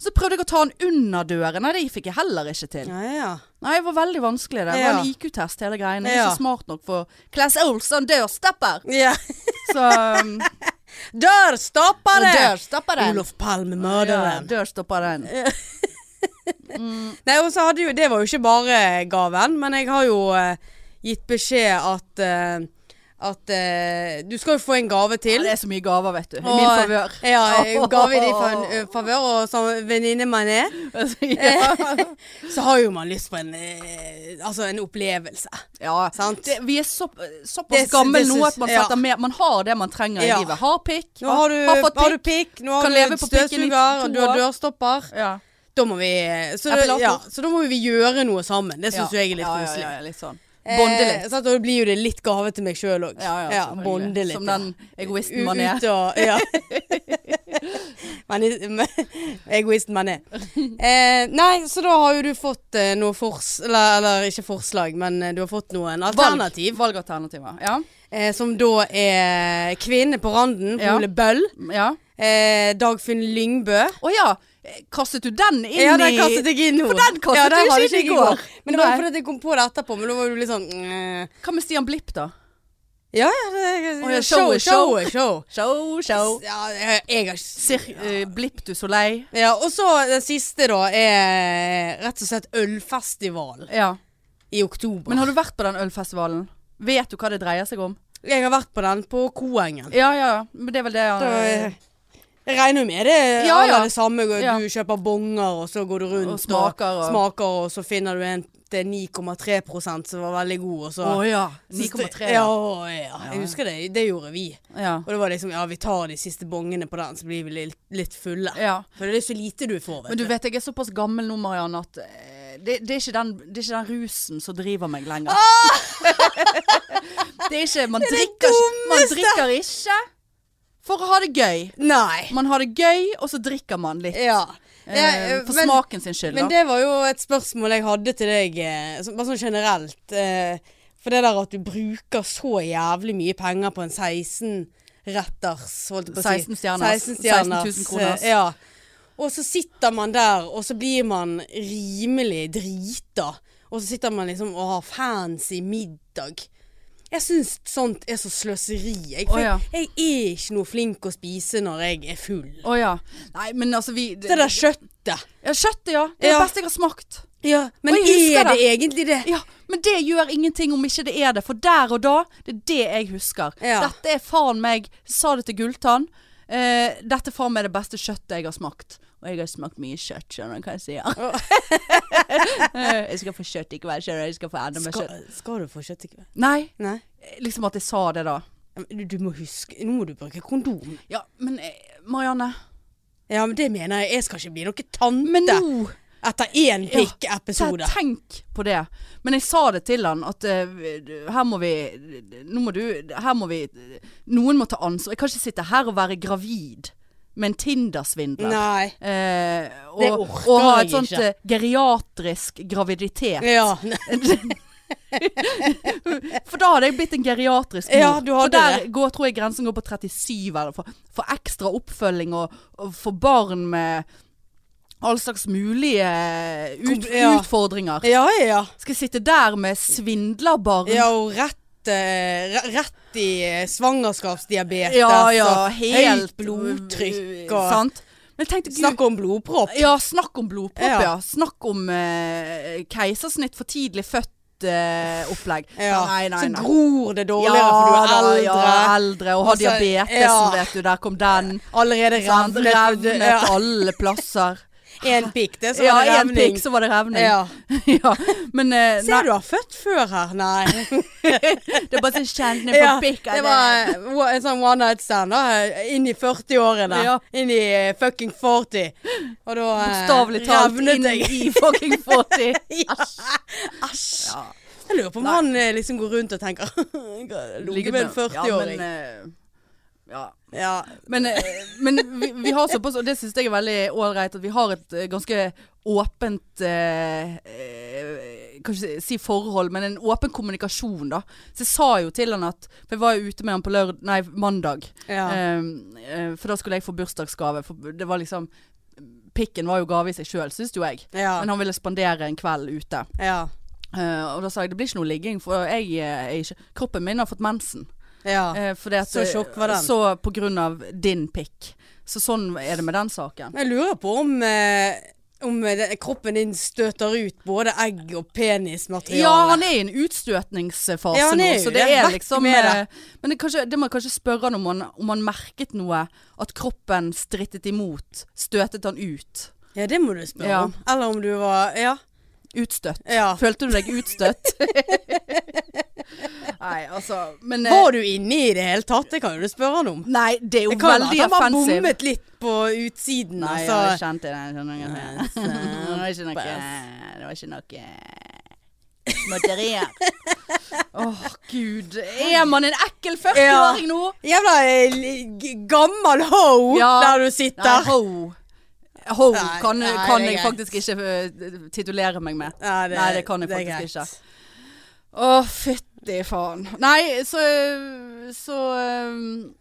S1: Så prøvde jeg å ta den under døren. Nei, det fikk jeg heller ikke til.
S2: Ja, ja.
S1: Nei, det var veldig vanskelig. Det Det var en IQ-test, hele greien. Jeg er
S2: Ja.
S1: ikke smart nok for Class Olsson dørstepper.
S2: ja.
S1: Så um,
S2: Dørstopper det!
S1: Dørstopperen.
S2: Olof
S1: Ja,
S2: Palme, morderen.
S1: dørstopperen.
S2: Nei, og så hadde jo, Det var jo ikke bare gaven, men jeg har jo eh, gitt beskjed at eh, At eh, du skal jo få en gave
S1: Ja,
S2: til.
S1: det er så mye gaver, vet du. I
S2: Og-
S1: min favør.
S2: Ja, eh, gave i din fa- eh, favør, og som venninne man er,
S1: ja.
S2: så har jo man lyst på en, eh, altså en opplevelse.
S1: ja.
S2: Sant?
S1: Det, vi er så, såpass
S2: Det-
S1: gamle
S2: det
S1: nå
S2: syns-
S1: at man
S2: ja.
S1: setter mer Man har det man trenger
S2: Ja.
S1: i livet. Har pikk.
S2: Nå har du, har
S1: fått pikk.
S2: du pikk, nå har
S1: Kan
S2: du
S1: leve
S2: et
S1: på pikken i
S2: støvsuger, og
S1: to
S2: du har
S1: år.
S2: dørstopper.
S1: Ja.
S2: Da må vi eh, Så, det,
S1: Epilator.
S2: ja, så da må vi gjøre noe sammen. Det syns jo jeg er litt
S1: ja,
S2: koselig.
S1: Ja, ja, litt sånn. Bonde
S2: Eh,
S1: litt.
S2: sant, og da blir jo det litt gave til meg sjøl òg.
S1: Ja, ja, selvfølgelig.
S2: bonde litt.
S1: Som
S2: ja.
S1: den
S2: U-
S1: egoisten man er.
S2: Ute og Ja. men, men- egoisten man er. Eh, nei, så da har jo du fått eh, noe fors... Eller, eller ikke forslag, men eh, du har fått noen alternativ.
S1: Valg- Valgalternativer. Ja.
S2: Eh, som da er Kvinne på randen,
S1: Ja.
S2: Ole Bøll.
S1: ja.
S2: Eh, Dagfinn Lyngbø.
S1: Å ja. Kastet du den inn
S2: Ja, den
S1: i
S2: kastet jeg inn nå.
S1: For den kastet
S2: ja,
S1: du
S2: har
S1: ikke inn i går.
S2: Men det var
S1: Nei.
S2: jo fordi at jeg kom på det etterpå, men da var du litt sånn eh,
S1: Hva med Stian Blipp, da?
S2: Ja, ja, det,
S1: Å, ja, show er show.
S2: er show.
S1: Show, show.
S2: Ja, jeg, jeg har ikke
S1: Sir, eh, Blipp du Soleil.
S2: Ja, og så den siste da er rett og slett ølfestival
S1: Ja.
S2: i oktober.
S1: Men har du vært på den ølfestivalen? Vet du hva det dreier seg om?
S2: jeg har vært på den på Koengen.
S1: Ja, ja, ja. men det er vel det han
S2: Da, eh, Jeg regner jo med det er
S1: Ja, ja.
S2: det samme. Du
S1: Ja.
S2: kjøper bonger, og så går du rundt
S1: Og smaker,
S2: og,
S1: og-
S2: smaker, og så finner du en fått eh, 9,3 som var veldig god. Og så,
S1: Å ja.
S2: så st-
S1: 9,3.
S2: Ja,
S1: Ja.
S2: ja,
S1: Ja.
S2: jeg husker det. Det gjorde vi.
S1: Ja.
S2: Og det var liksom ja, vi tar de siste bongene på den, så blir vi litt, litt fulle.
S1: ja.
S2: For det er så lite du får, vet
S1: Men du vet, jeg er såpass gammel nå, Mariann, at eh, det, det, er ikke den, det er ikke den rusen som driver meg lenger. det er ikke Man
S2: er Ah! det
S1: drikker, ikke- man drikker ikke for å ha det gøy.
S2: Nei.
S1: Man har det gøy, og så drikker man litt.
S2: Ja.
S1: eh,
S2: Ja,
S1: for
S2: men-
S1: smaken sin skyld,
S2: Men
S1: da.
S2: det var jo et spørsmål jeg hadde til deg, eh, så- bare sånn generelt. eh, For det der at du bruker så jævlig mye penger på en 16-retters, holdt jeg på å si.
S1: 16 stjerners.
S2: 16 stjerners.
S1: 16 000 kroners.
S2: eh, Ja. Og så sitter man der, og så blir man rimelig drita. Og så sitter man liksom og har fancy middag. Jeg syns sånt er så sløseri. Jeg, for
S1: Å, ja.
S2: jeg er ikke noe flink å spise når jeg er full.
S1: Å ja. Nei, men altså vi
S2: Det der kjøttet.
S1: Ja, kjøttet, ja. Det er
S2: Ja.
S1: det beste jeg har smakt.
S2: Ja, men
S1: Og jeg husker
S2: er det
S1: det.
S2: egentlig det?
S1: Ja, Men det gjør ingenting om ikke det er det, for der og da, det er det jeg husker.
S2: Ja.
S1: Dette er faen meg, jeg sa det til Gulltann, eh, dette er faen meg det beste kjøttet jeg har smakt. Og jeg har smakt mye kjøtt, skjønner du hva jeg sier. Eh, jeg skal få kjøtt i kveld, skjønner du. Jeg skal få enda mer kjøtt.
S2: Skal, skal du få kjøtt i kveld?
S1: Nei,
S2: Nei.
S1: liksom at jeg sa det da.
S2: Du, du må huske, nå må du bruke kondom.
S1: Ja, men eh, Marianne.
S2: Ja, men det mener jeg. Jeg skal ikke bli noe tante
S1: Men nå
S2: etter én
S1: Ja,
S2: pikk-episode.
S1: Te- Tenk på det. Men jeg sa det til han at eh, her må vi Nå må du Her må vi Noen må ta ansvar. Jeg kan ikke sitte her og være gravid med en Tinder-svindler.
S2: Nei.
S1: Eh, og,
S2: Det orker
S1: og ha et
S2: jeg
S1: sånt
S2: ikke.
S1: eh, geriatrisk graviditet.
S2: Ja.
S1: For da hadde jeg blitt en geriatrisk mor.
S2: Ja, du hadde
S1: for der
S2: det.
S1: går, tror jeg grensen går på 37, eller for, for ekstra oppfølging og, og for barn med all slags mulige ut,
S2: Kom- ja.
S1: utfordringer.
S2: ja, ja.
S1: Skal jeg sitte der med svindlerbarn?
S2: Ja, og rett, eh, re- rett i eh, svangerskapsdiabetes
S1: ja, ja,
S2: og
S1: helt uh,
S2: altså, høyt blodtrykk og
S1: Sant? Men jeg tenkte, gud
S2: Snakk om blodpropp.
S1: Ja, snakk om blodpropp, ja.
S2: Ja.
S1: Snakk om eh, keisersnitt for tidlig født-opplegg.
S2: Ja.
S1: Nei, nei,
S2: Så
S1: nei.
S2: gror det dårligere
S1: da,
S2: for du er
S1: ja,
S2: eldre.
S1: eldre og har
S2: Og så-
S1: diabetes,
S2: ja.
S1: vet du. Der kom den.
S2: Allerede
S1: sant?
S2: revnet.
S1: Revnet
S2: Ja.
S1: alle plasser.
S2: En pikk, det, så
S1: Ja,
S2: var det
S1: én
S2: revning.
S1: pikk, sånn. så var det revning. Ja.
S2: Ja.
S1: Men eh,
S2: Ser
S1: nei,
S2: du har født før her, nei.
S1: det er bare så kjent ned på
S2: ja,
S1: pikk.
S2: det var eh, wa- en sånn one night stand da, inn i 40-årene.
S1: Ja.
S2: Inn i eh, fucking 40. Og da eh,
S1: Bokstavelig talt
S2: revnet
S1: inn
S2: jeg.
S1: i fucking 40.
S2: Æsj.
S1: Ja.
S2: Jeg lurer på om han eh, liksom går rundt og tenker Ligger med en
S1: Ja, men,
S2: 40-åring.
S1: eh, ja.
S2: Ja,
S1: men, eh, men vi, vi har såpass, og det syns jeg er veldig ålreit, at vi har et eh, ganske åpent eh, eh, Kan ikke si si forhold, men en åpen kommunikasjon, da. Så jeg sa jo til han at For jeg var jo ute med han på lørd... Nei, mandag.
S2: ja.
S1: Eh, eh, for da skulle jeg få bursdagsgave. For det var liksom Pikken var jo gave i seg sjøl, syns jo jeg.
S2: Ja.
S1: Men han ville spandere en kveld ute.
S2: ja.
S1: Eh, og da sa jeg det blir ikke noe ligging, for jeg, eh, er ikke Kroppen min har fått mensen.
S2: ja.
S1: Eh, fordi at,
S2: Ah, Så tjokk var den.
S1: Så på grunn av din pikk. Så sånn er det med den saken.
S2: Men jeg lurer på om, eh, om eh, det- kroppen din støter ut både egg og penismateriale.
S1: Ja, han er i en utstøtningsfase
S2: Ja, han
S1: nå,
S2: er jo
S1: så det
S2: det.
S1: er
S2: Vekk
S1: liksom
S2: med det.
S1: eh, Men det, kanskje, det må jeg kanskje spørre han om, han om han merket noe. At kroppen strittet imot. Støtet han ut.
S2: Ja, det må du spørre
S1: Ja.
S2: om. Eller om du var Ja.
S1: Utstøtt.
S2: ja.
S1: Følte du deg utstøtt? Nei, altså Men eh,
S2: Var du inne i det hele tatt? Det kan jo du spørre han om.
S1: Nei, det er jo
S2: Det kan
S1: veldig
S2: være at han bare
S1: offensive.
S2: bommet litt på utsiden.
S1: Nei, jeg hadde
S2: altså.
S1: kjent det. Jeg skjønner ikke.
S2: Nei,
S1: Det var ikke noe Det var ikke noe småtterier. Åh, gud. Er man en ekkel 40-åring nå?
S2: Jævla eh, l- g- gammel ho
S1: Ja.
S2: der du
S1: Nei,
S2: sitter.
S1: ho. Ho
S2: Nei,
S1: kan,
S2: nei,
S1: kan
S2: det er
S1: jeg
S2: greit.
S1: faktisk ikke eh, titulere meg med.
S2: Nei,
S1: Nei, det kan jeg
S2: er
S1: faktisk
S2: greit.
S1: Å, fytti faen. Nei, så Så um,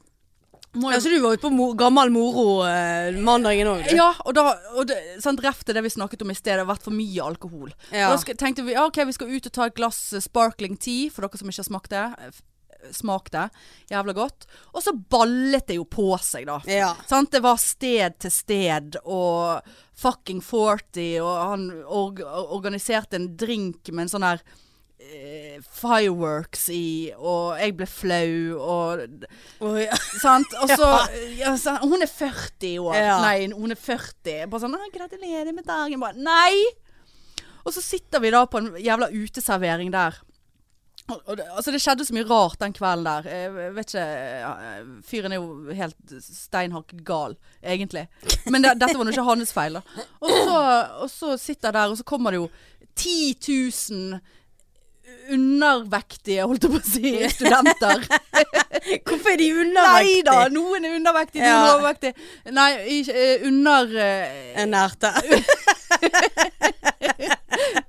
S1: må
S2: Ja,
S1: jo
S2: så du var ute på mo gammel moro eh, mandagen òg, du?
S1: Ja, og da og det, sant, Ref til det vi snakket om i sted, det har vært for mye alkohol.
S2: Ja.
S1: Og Da sk- tenkte vi ja, ok, vi skal ut og ta et glass eh, sparkling tea, for dere som ikke har smakt det. Eh, f- Smak det. Jævla godt. Og så ballet det jo på seg, da.
S2: Ja.
S1: Sant? Det var sted til sted, og fucking 40, og han org organiserte en drink med en sånn her eh, fireworks i, og jeg ble flau, og
S2: Og, ja.
S1: Sant? Og så ja, så- Hun er 40 i år.
S2: Ja.
S1: Nei, hun er 40. Bare sånn «Å, 'Gratulerer med dagen'. Bare nei! Og så sitter vi da på en jævla uteservering der. Og- og det, altså det skjedde så mye rart den kvelden der. Jeg vet ikke ja, Fyren er jo helt steinhakket gal, egentlig. Men det, dette var nå ikke hans feil, da. Og så, og så sitter jeg der, og så kommer det jo 10 000 undervektige, holdt jeg på å si, studenter.
S2: Hvorfor er de
S1: Nei da,
S2: undervektige?
S1: noen er undervektige, noen
S2: Ja.
S1: er overvektige. Nei, ikke, eh, under eh,
S2: Ernærte.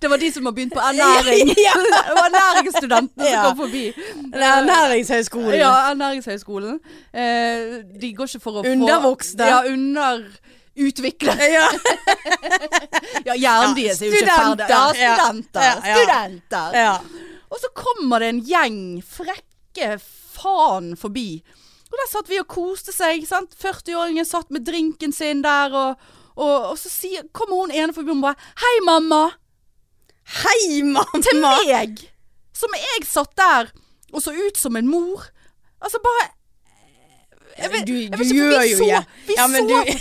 S1: Det var de som har begynt på ernæring.
S2: Ja.
S1: det var ernæringsstudentene som
S2: Ja.
S1: kom forbi.
S2: Eller Ernæringshøgskolen.
S1: Ja, Ernæringshøgskolen. Eh, de går ikke for å
S2: Undervoksne.
S1: få Ja, underutviklet.
S2: Ja.
S1: Ja, hjernen
S2: Ja,
S1: deres er jo ikke ferdig.
S2: studenter.
S1: Ja,
S2: Ja.
S1: studenter.
S2: Ja, ja.
S1: Studenter.
S2: ja.
S1: Og så kommer det en gjeng frekke faen forbi. Og der satt vi og koste seg. sant? 40-åringen satt med drinken sin der, og, og, og så sier, kommer hun ene forbi og bare 'Hei, mamma'.
S2: Hei, mamma!
S1: til meg! Som jeg satt der og så ut som en mor. Altså bare vet- jeg
S2: du du
S1: vet ikke, for
S2: gjør
S1: vi
S2: jo
S1: så-
S2: ja.
S1: vi
S2: ja, men
S1: så
S2: du,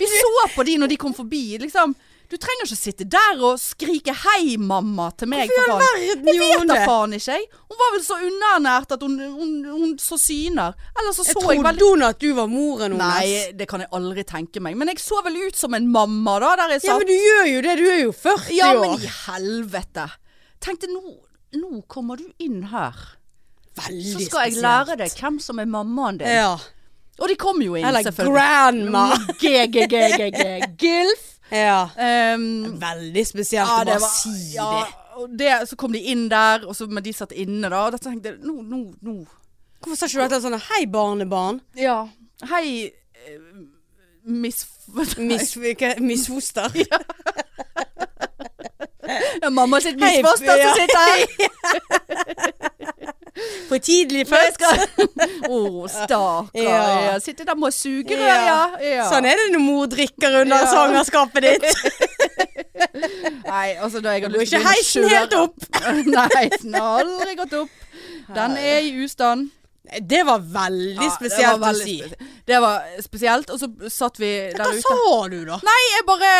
S1: Vi så på de når de kom forbi, liksom. Du trenger ikke sitte der og skrike 'hei, mamma' til meg, for faen.
S2: Verden
S1: Jeg vet
S2: gjorde
S1: da
S2: det!
S1: faen ikke, jeg. Hun var vel så underernært at hun, hun, hun så syner. Eller så så
S2: Jeg
S1: jeg,
S2: trodde
S1: veldig
S2: hun at du var moren hennes.
S1: Nei, det kan jeg aldri tenke meg. Men jeg så vel ut som en mamma, da, der jeg satt.
S2: Ja, men du gjør jo det. Du er jo 40
S1: Ja,
S2: år.
S1: men i helvete. Tenkte nå, nå kommer du inn her.
S2: Veldig
S1: Så skal jeg
S2: spesielt.
S1: lære deg hvem som er mammaen din.
S2: Ja.
S1: Og de kom jo inn,
S2: Eller
S1: selvfølgelig.
S2: grandma.
S1: G-g-g-g-g. Gilf.
S2: Ja.
S1: Um,
S2: Veldig spesielt
S1: ja,
S2: å
S1: det
S2: bare
S1: var
S2: si
S1: ja,
S2: det.
S1: og det. Så kom de inn der, og så men de satt inne, da. Og da tenkte jeg nå, nå, nå.
S2: Hvorfor sa ikke du dette sånn Hei, barnebarn.
S1: Ja. Hei, eh, miss...
S2: Miss, ikke- misfoster.
S1: Ja, mamma sitt
S2: Hei,
S1: misfoster
S2: ja.
S1: som sitter her.
S2: For tidlig
S1: Men jeg
S2: født.
S1: skal- Å, stakkar.
S2: Ja.
S1: Ja. Sitter der med sugerør, ja.
S2: Ja.
S1: ja.
S2: Sånn er det når mor drikker under
S1: Ja.
S2: svangerskapet ditt.
S1: Nei, altså da jeg har
S2: Går
S1: lyst til å
S2: ikke
S1: begynne
S2: heisen
S1: å
S2: helt
S1: kjøre-
S2: opp.
S1: Nei, heisen har aldri gått opp. Den er i ustand.
S2: Det var veldig
S1: Ja, det
S2: spesielt
S1: var
S2: å
S1: veldig
S2: si.
S1: spesielt. Det var spesielt, og så satt vi der
S2: Hva
S1: ute.
S2: sa du, da?
S1: Nei, jeg bare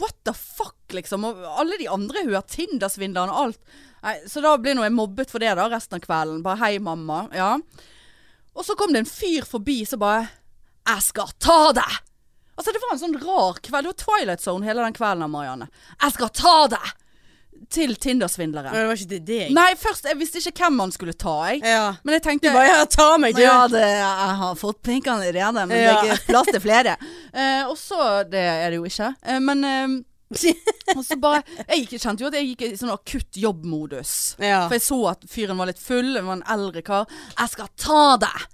S1: What the fuck, liksom. Og alle de andre hører Tinder-svindlerne og alt. Nei, så da blir nå jeg mobbet for det da, resten av kvelden. Bare hei, mamma. Ja. Og så kom det en fyr forbi som bare Jeg skal ta deg! Altså, det var en sånn rar kveld. Det var Twilight Zone hele den kvelden, Marianne. Jeg skal ta deg! Til Tinder-svindleren.
S2: Men det var ikke til deg.
S1: Nei, først Jeg visste ikke hvem han skulle ta, jeg.
S2: Ja.
S1: Men jeg tenkte
S2: Du bare ja, ta meg, du.
S1: ja, det, jeg har fått pinkene allerede, men
S2: Ja.
S1: det er ikke plass til flere. Eh, og så Det er det jo ikke. Eh, men eh, Og så bare Jeg gikk, kjente jo at jeg gikk i sånn akutt jobbmodus.
S2: Ja.
S1: For jeg så at fyren var litt full, han var en eldre kar. 'Jeg skal ta deg!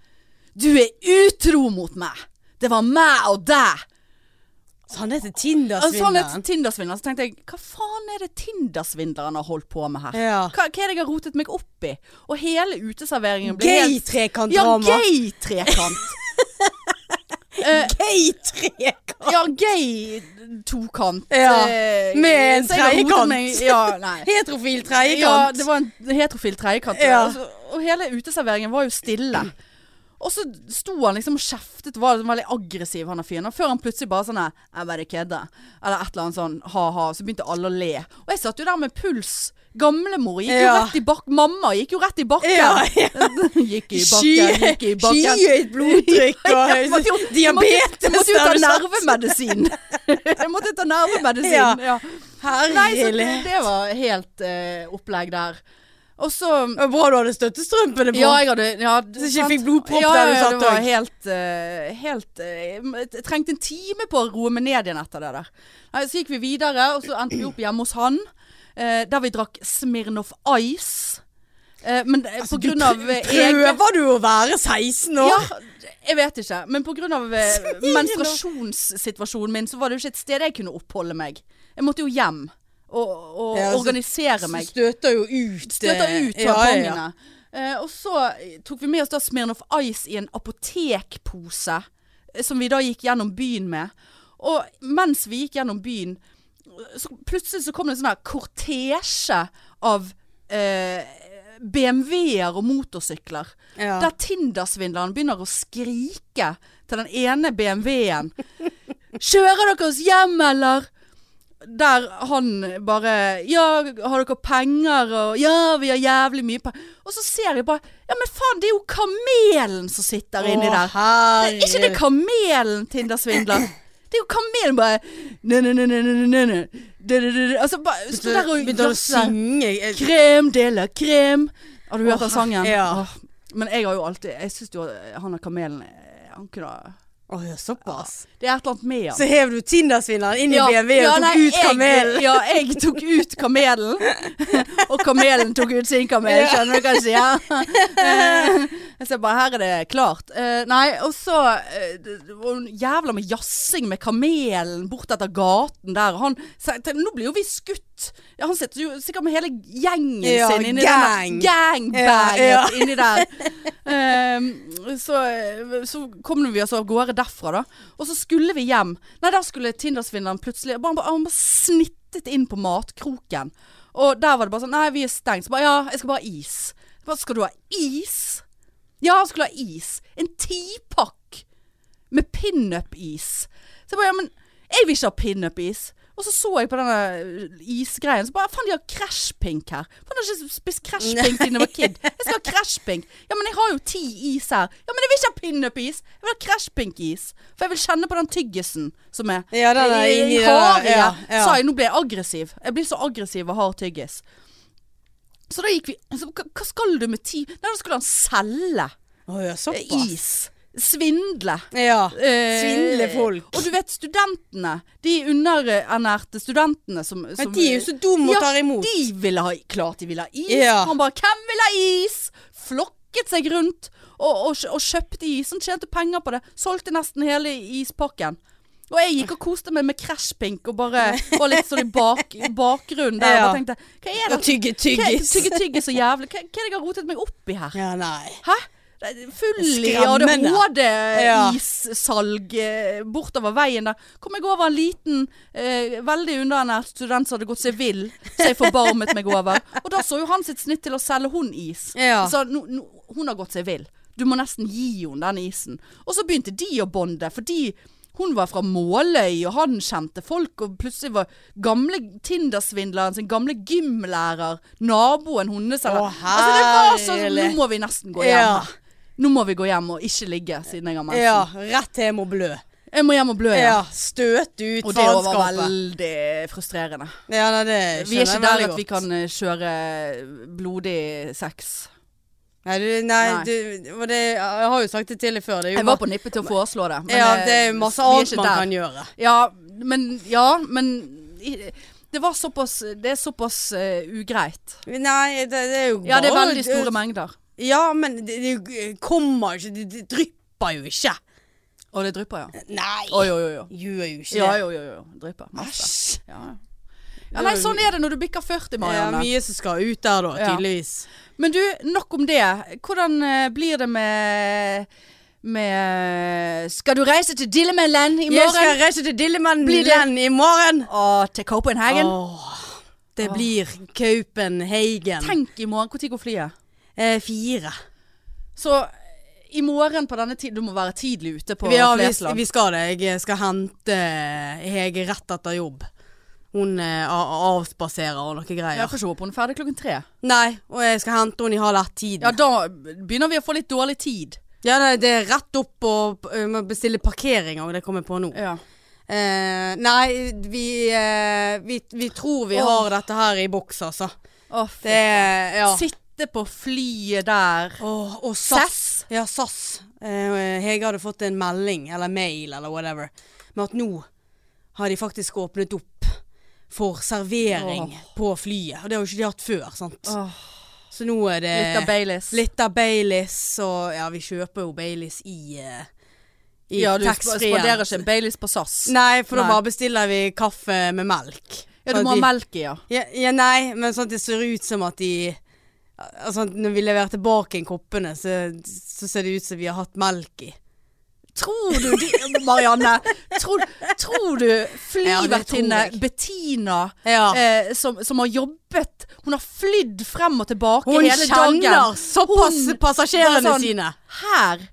S1: Du er utro mot meg! Det var meg og deg!'
S2: Så han heter
S1: Og så han het
S2: Tinder-svindleren.
S1: Tindersvindler. Så tenkte jeg, hva faen er det Tindersvindleren har holdt på med her?
S2: Ja.
S1: Hva, hva er det jeg har rotet meg opp i? Og hele uteserveringen ble helt Ja,
S2: Gay-trekantdrama.
S1: gay-trekant. Eh,
S2: Gay-trekant.
S1: ja, gay-tokant.
S2: Ja,
S1: Eh,
S2: med en
S1: så jeg har rotet
S2: trekant.
S1: meg- Ja, nei.
S2: Heterofil
S1: Ja,
S2: trekant.
S1: det var en heterofil trekant.
S2: Ja.
S1: Og, så- og hele uteserveringen var jo stille. Og så sto han liksom og kjeftet og var liksom veldig aggressiv, han er fyren. Og Før han plutselig bare sånn her, 'Jeg bare kødder', eller et eller annet sånn ha-ha. Så begynte alle å le. Og jeg satt jo der med puls. Gamlemor gikk
S2: Ja.
S1: jo rett i bakken. Mamma gikk jo rett i bakken.
S2: Ja,
S1: gikk i bakken,
S2: Skyhøyt
S1: gikk i bakken.
S2: skyhøyt blodtrykk
S1: Jeg måtte jo-
S2: og
S1: Jeg måtte jo ta
S2: diabetes.
S1: nervemedisin. jeg måtte ta nervemedisin.
S2: Ja.
S1: Ja. Nei, så det,
S2: Herlig.
S1: det var helt eh, opplegg der. Og så
S2: Det var Bra du hadde støttestrømpene på.
S1: ja, jeg hadde ja,
S2: Så ikke
S1: sant.
S2: fikk blodpropp
S1: ja,
S2: der du
S1: Ja,
S2: satt
S1: det var
S2: og-
S1: helt, eh, helt eh, Jeg trengte en time på å roe meg ned igjen etter det der. Nei, så gikk vi videre, og så endte vi opp hjemme hos han. eh, der vi drakk Smirnoff Ice. Eh, men eh, på grunn av eh, egen
S2: Altså, Prøver du å være 16 år?
S1: ja, jeg vet ikke. Men pga. eh, menstruasjonssituasjonen min, så var det jo ikke et sted jeg kunne oppholde meg. Jeg måtte jo hjem og, og
S2: Ja, altså,
S1: organisere meg.
S2: Støter jo ut.
S1: Støtte
S2: eh,
S1: ut tampongene. Eh, og så tok vi med oss da Smirnoff Ice i en apotekpose, eh, som vi da gikk gjennom byen med. Og mens vi gikk gjennom byen, eh, så plutselig så kom det en sånn her kortesje av eh, BMW-er og motorsykler.
S2: Ja.
S1: Der Tinder-svindleren begynner å skrike til den ene BMW-en. 'Kjører dere oss hjem, eller?' der han bare Ja, har dere penger? Og ja, vi har jævlig mye penger. Og så ser jeg bare Ja, men faen, det er jo kamelen som sitter inni der. Er ikke det kamelen Tinder-svindler? Det er jo kamelen bare Nø, nø, nø, nø, nø, nø, nø, nø. Dø, dø, dø, dø. Altså bare stå der og
S2: Begynte å
S1: jazze.
S2: synge. Jeg-
S1: Krem de la krem. Har du hørt den sangen?
S2: ja.
S1: Åh. Men jeg har jo alltid Jeg syns jo at han der kamelen eh, Han kunne ha-
S2: Å, ja, såpass.
S1: Det er et eller annet med han.
S2: Så hev du Tinder-svinneren inn i BMW og
S1: nei,
S2: tok ut
S1: jeg-
S2: kamelen.
S1: Ja, jeg tok ut kamelen. Og kamelen tok ut sin kamel, skjønner du hva jeg sier? Eh, Jeg ser bare her er det klart. Eh, Nei, og så eh, det- det var en jævla med jassing med kamelen bort etter gaten der. Og Han sa "Tenk, Nå blir jo vi skutt. Ja, han sitter jo sikkert med hele gjengen
S2: Ja,
S1: sin inni den
S2: gang.
S1: gangbanget
S2: Ja, ja.
S1: inni der. Ehm, så, så kom vi oss av gårde derfra, da. Og så skulle vi hjem. Nei, der skulle Tinder-svindleren plutselig bare, bare, Han bare snittet inn på matkroken. Og der var det bare sånn Nei, vi er stengt. Så bare Ja, jeg skal bare ha is. Jeg Bare, skal du ha is? Ja, han skulle ha is. En tipakk med pinup-is. Så jeg bare Ja, men jeg vil ikke ha pinup-is. Og så så jeg på denne eh, isgreien, så bare Faen, de har krasjpink her. Faen, jeg har ikke spist krasjpink siden jeg var kid. Jeg skal ha krasjpink. Ja, men jeg har jo ti is her. Ja, men jeg vil ikke ha pinup-is. Jeg vil ha krasjpink-is. For jeg vil kjenne på den tyggisen som er
S2: Ja, den er
S1: i- i
S2: inni der,
S1: havet.
S2: ja, ja.
S1: Sa jeg, nå ble jeg aggressiv. Jeg blir så aggressiv og har tyggis. Så da gikk vi så, hva- Hva skal du med ti Nei, da skulle han selge
S2: Å, ja, såpass.
S1: is. Svindle.
S2: Ja.
S1: Eh,
S2: Svindle folk.
S1: Og du vet studentene. De underernærte studentene som, som
S2: Men de er jo så dumme
S1: Ja,
S2: å ta imot.
S1: De ville ha Klart de ville ha is.
S2: Ja.
S1: Han bare 'Hvem vil ha is?' Flokket seg rundt og, og, og kjøpte is. Han tjente penger på det. Solgte nesten hele ispakken. Og jeg gikk og koste meg med krasjpink og bare var litt sånn i bak, bakgrunnen der.
S2: Ja.
S1: Og tenkte 'Hva er
S2: Og
S1: det
S2: tygge
S1: Hva-
S2: tyggis.
S1: Tygge tygge så jævlig. Hva, hva er det jeg har rotet meg opp i her?
S2: Ja, nei.
S1: Hæ? Det er Full i
S2: Skremmende.
S1: ADHD-issalg eh, bortover veien der. Kom jeg over en liten, eh, veldig underernært student som hadde gått seg vill, så jeg forbarmet meg over. Og da så jo han sitt snitt til å selge hun is.
S2: Ja.
S1: Så nå- nå- hun har gått seg vill. Du må nesten gi henne den isen. Og så begynte de å bonde, fordi hun var fra Måløy, og han kjente folk, og plutselig var gamle Tinder-svindleren sin gamle gymlærer naboen hennes. eller-
S2: Å,
S1: altså, det var sånn,
S2: herlig.
S1: nå må vi nesten gå hjem.
S2: Ja.
S1: her. Nå må vi gå hjem og ikke ligge siden jeg har mensen.
S2: Ja, rett hjem og blø.
S1: Jeg må hjem og blø. Ja.
S2: Ja, støt ut
S1: Og det var
S2: faenskapet.
S1: veldig frustrerende.
S2: Ja, nei, det
S1: Vi er
S2: skjønner jeg
S1: ikke der
S2: veldig
S1: at vi
S2: godt.
S1: kan eh, kjøre blodig sex.
S2: Nei, du, nei,
S1: Nei.
S2: Du, og det, jeg har jo sagt det til deg før. Det er jo
S1: Jeg var på nippet til å foreslå det.
S2: ja,
S1: eh,
S2: det er masse
S1: vi er
S2: annet
S1: ikke
S2: man
S1: der.
S2: kan gjøre.
S1: Ja, men Ja, men i- Det var såpass Det er såpass eh, ugreit.
S2: Nei, det, det er jo
S1: Ja, det er
S2: bare-
S1: veldig store mengder.
S2: Ja, men det, det kommer ikke det, det drypper jo ikke.
S1: Og det drypper, ja.
S2: Nei.
S1: Oi, oi, oi. oi.
S2: Gjør jo ikke
S1: Ja,
S2: det.
S1: jo, jo, jo. Drypper. Masse.
S2: Æsj.
S1: Ja, ja. ja. Nei, sånn er det når du bikker 40,
S2: Det er
S1: Marianne.
S2: mye som skal ut der, da,
S1: Ja.
S2: tydeligvis.
S1: Men du, nok om det. Hvordan eh, blir det med med eh, Skal du reise til Dillemelland i
S2: Jeg
S1: morgen?
S2: skal reise til Dillemann
S1: Blir det-
S2: Land i morgen.
S1: Og til Copenhagen?
S2: Åh, det blir Copenhagen.
S1: Tenk i morgen. Når går flyet?
S2: Eh, fire.
S1: Så i morgen på denne tid Du må være tidlig ute på
S2: ja, vi,
S1: Flesland.
S2: vi skal det. Jeg skal hente Hege rett etter jobb. Hun eh, a- avspaserer og noe greier.
S1: Jeg får se på hun er ferdig klokken tre.
S2: Nei, og jeg skal hente henne i halv ett-tiden.
S1: Ja, da begynner vi å få litt dårlig tid.
S2: Ja, nei, det er rett opp og eh, må bestille parkering og det kommer jeg på nå.
S1: Ja.
S2: Eh, nei, vi, eh, vi, vi tror vi
S1: Åh.
S2: har dette her i boks, altså.
S1: Å,
S2: Det er ja.
S1: Sitte på flyet der.
S2: Åh, og
S1: SAS?
S2: Ja, SAS. Eh, Hege hadde fått en melding, eller mail, eller whatever, med at nå har de faktisk åpnet opp for servering
S1: Åh.
S2: på flyet. Og det har jo ikke de hatt før, sant.
S1: Åh,
S2: Så nå er det
S1: Eh, litt av Baileys.
S2: litt av Baileys, og ja, vi kjøper jo Baileys i, eh, i
S1: ja, du
S2: taxfree-en.
S1: spanderer ikke en Baileys på SAS.
S2: Nei, for
S1: Nei.
S2: da bare bestiller vi kaffe med melk.
S1: Ja, du
S2: Sånn
S1: må
S2: at
S1: ha
S2: de-
S1: melk i, ja.
S2: Ja, ja, nei, men sånn at det ser ut som at de Altså, når vi leverer tilbake inn koppene, så, så ser det ut som vi har hatt melk i.
S1: Tror du de, Marianne Tror, tror du flyvertinne
S2: Ja, det tror jeg.
S1: Bettina
S2: Ja.
S1: eh, som, som har jobbet Hun har flydd frem og tilbake
S2: Hun
S1: hele dagen
S2: kjenner såpass
S1: Hun
S2: passasjerene
S1: bare sånn,
S2: sine.
S1: Her,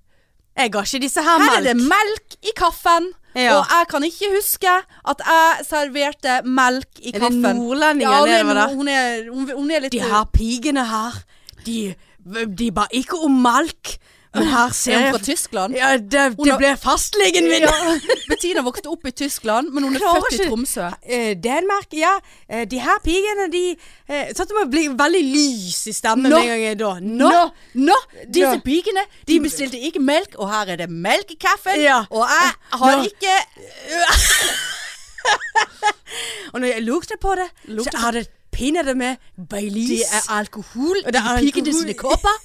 S2: Jeg ga ikke disse her
S1: her
S2: melk.
S1: er det melk i kaffen
S2: Ja.
S1: Og jeg kan ikke huske at jeg serverte melk i
S2: det
S1: kaffen.
S2: nordlendinger
S1: ja,
S2: det var
S1: hun,
S2: der?
S1: hun, er, hun, hun er litt eh,
S2: De her pigene her, de, de ba ikke om melk. Men
S1: Er
S2: her ser
S1: hun
S2: jeg
S1: fra Tyskland?
S2: Eh, ja, det, det
S1: har-
S2: ble fastlegen min!
S1: Bettina vokste opp i Tyskland, men hun er
S2: Klarer
S1: født i
S2: ikke-
S1: Tromsø.
S2: Eh, Danmark, ja. Eh, de her pigene, de eh, Sånn at man blir veldig lys i stemmen
S1: Nå.
S2: med en gang jeg er da.
S1: Nå, nå, disse
S2: Nå.
S1: pigene de bestilte ikke melk, og her er det melk i kaffen.
S2: Ja.
S1: Og jeg har
S2: Nå.
S1: ikke
S2: Og når jeg lukter på det,
S1: Lukter på-
S2: så er det pinadø med
S1: Det
S2: Baileys.
S1: er alkohol
S2: det er
S1: i pigene
S2: alkohol.
S1: sine kopper,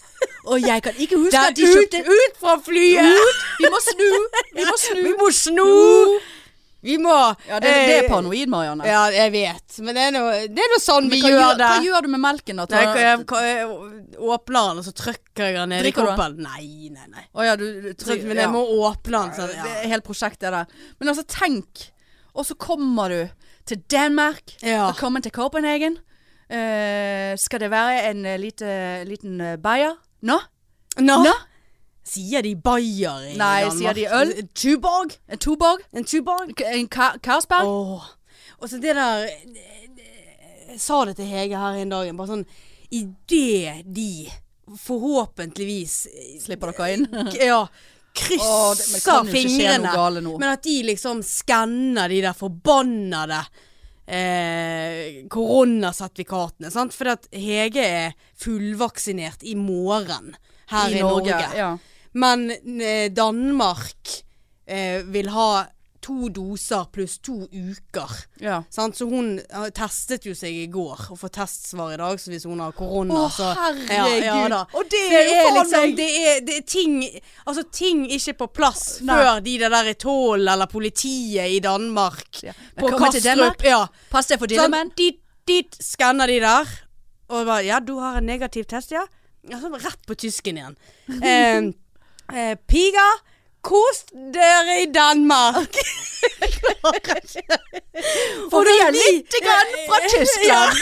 S1: og jeg kan ikke huske
S2: Det
S1: at de
S2: er ut,
S1: kjøpte
S2: ut fra flyet!
S1: Vi må snu! Vi må snu!
S2: Vi må sno! Vi må
S1: Ja, det, det er
S2: eh,
S1: paranoid, Marianne.
S2: Ja, jeg vet. Men det er noe, det er noe sånn vi
S1: hva,
S2: gjør
S1: gjør,
S2: det.
S1: hva gjør du med melken, da?
S2: Nei,
S1: Ta-
S2: jeg, jeg, jeg åpner den, og så trykker jeg den ned i
S1: Drikker du den?
S2: koppen. Nei, nei, nei.
S1: Å ja, du, du
S2: Trykker, men
S1: ja.
S2: jeg må åpne den. Sånn,
S1: Det
S2: ja.
S1: er helt prosjekt, det der. Men altså, tenk. Og så kommer du til Danmark.
S2: Ja.
S1: Velkommen til Copenhagen. Eh, skal det være en eh, lite, liten eh, bayer? Nå?
S2: Nå?
S1: Nå?
S2: Sier de bayer i
S1: Nei,
S2: Danmark?
S1: sier de øl?
S2: Tuborg?
S1: En Tuborg?
S2: En tuborg?
S1: K- En Ka- Carlsberg?
S2: Åh. Og så det der Jeg sa det til Hege her en dag. Bare sånn Idet de forhåpentligvis
S1: Slipper dere inn? Åh,
S2: Ja.
S1: det, men det kan
S2: Krysser
S1: jo ikke skje noe
S2: fingrene.
S1: gale nå.
S2: Men at de liksom skanner de der forbannede eh, koronasertifikatene. Sant? For at Hege er fullvaksinert i morgen her i, Norge.
S1: Ja.
S2: Men eh, Danmark eh, vil ha to doser pluss to uker.
S1: ja.
S2: Sant? Så hun eh, testet jo seg i går og får testsvar i dag, så hvis hun har korona,
S1: Å,
S2: så
S1: herregud.
S2: da.
S1: Og det
S2: Det
S1: er jo
S2: er
S1: faen
S2: liksom
S1: meg-
S2: det er, det er ting Altså ting ikke på plass
S1: Nei.
S2: før de der i tollen eller politiet i Danmark
S1: Ja.
S2: på
S1: Velkommen til Danmark.
S2: Kastrup ja.
S1: Pass deg for
S2: Sånn,
S1: dillemenn.
S2: dit, dit skanner de der. Og bare Ja, du har en negativ test, ja? ja så rett på tysken igjen. Eh, eh, Piga, kos dere i Danmark!
S1: For vi er
S2: vi-
S1: lite grann fra Tyskland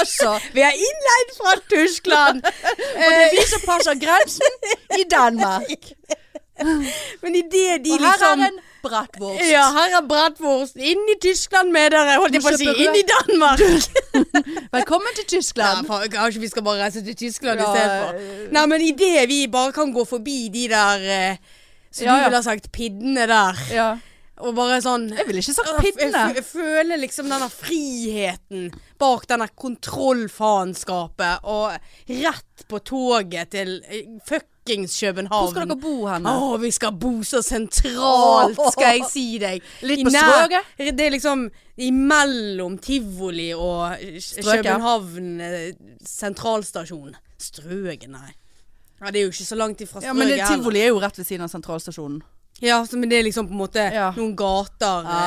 S1: også.
S2: Vi er innleid fra Tyskland!
S1: Og det er vi som passer grensen i Danmark.
S2: Men idet de
S1: Og her er
S2: liksom
S1: en bratwurst.
S2: Ja, her er bratwurst. Inn i Tyskland med dere, holdt jeg på å si.
S1: Kjøper
S2: Inn i Danmark!
S1: Velkommen til
S2: Ja,
S1: Tyskland.
S2: faen, kanskje vi skal bare reise til Tyskland
S1: Ja,
S2: istedenfor. Nei, men idet vi bare kan gå forbi de der eh, Som
S1: Ja, ja.
S2: du ville ha sagt piddene der.
S1: Ja.
S2: Og bare sånn
S1: Jeg ville ikke sagt
S2: Jeg f-
S1: piddene.
S2: Jeg f- føler liksom denne friheten bak denne kontrollfaenskapet og rett på toget til eh, fuckings København.
S1: Hvor skal dere bo henne?
S2: Å, vi skal bo så sentralt, skal jeg si deg.
S1: Litt
S2: I
S1: på
S2: nær-
S1: Strøget?
S2: Det er liksom imellom tivoli og K-
S1: Strøket.
S2: København eh, sentralstasjon. Strøget, nei. Ja, Det er jo ikke så langt ifra
S1: Ja,
S2: Strøget
S1: men det,
S2: heller.
S1: Tivoli er jo rett ved siden av sentralstasjonen.
S2: Ja, så, men det er liksom på en måte
S1: Ja.
S2: noen gater eh,
S1: Ah,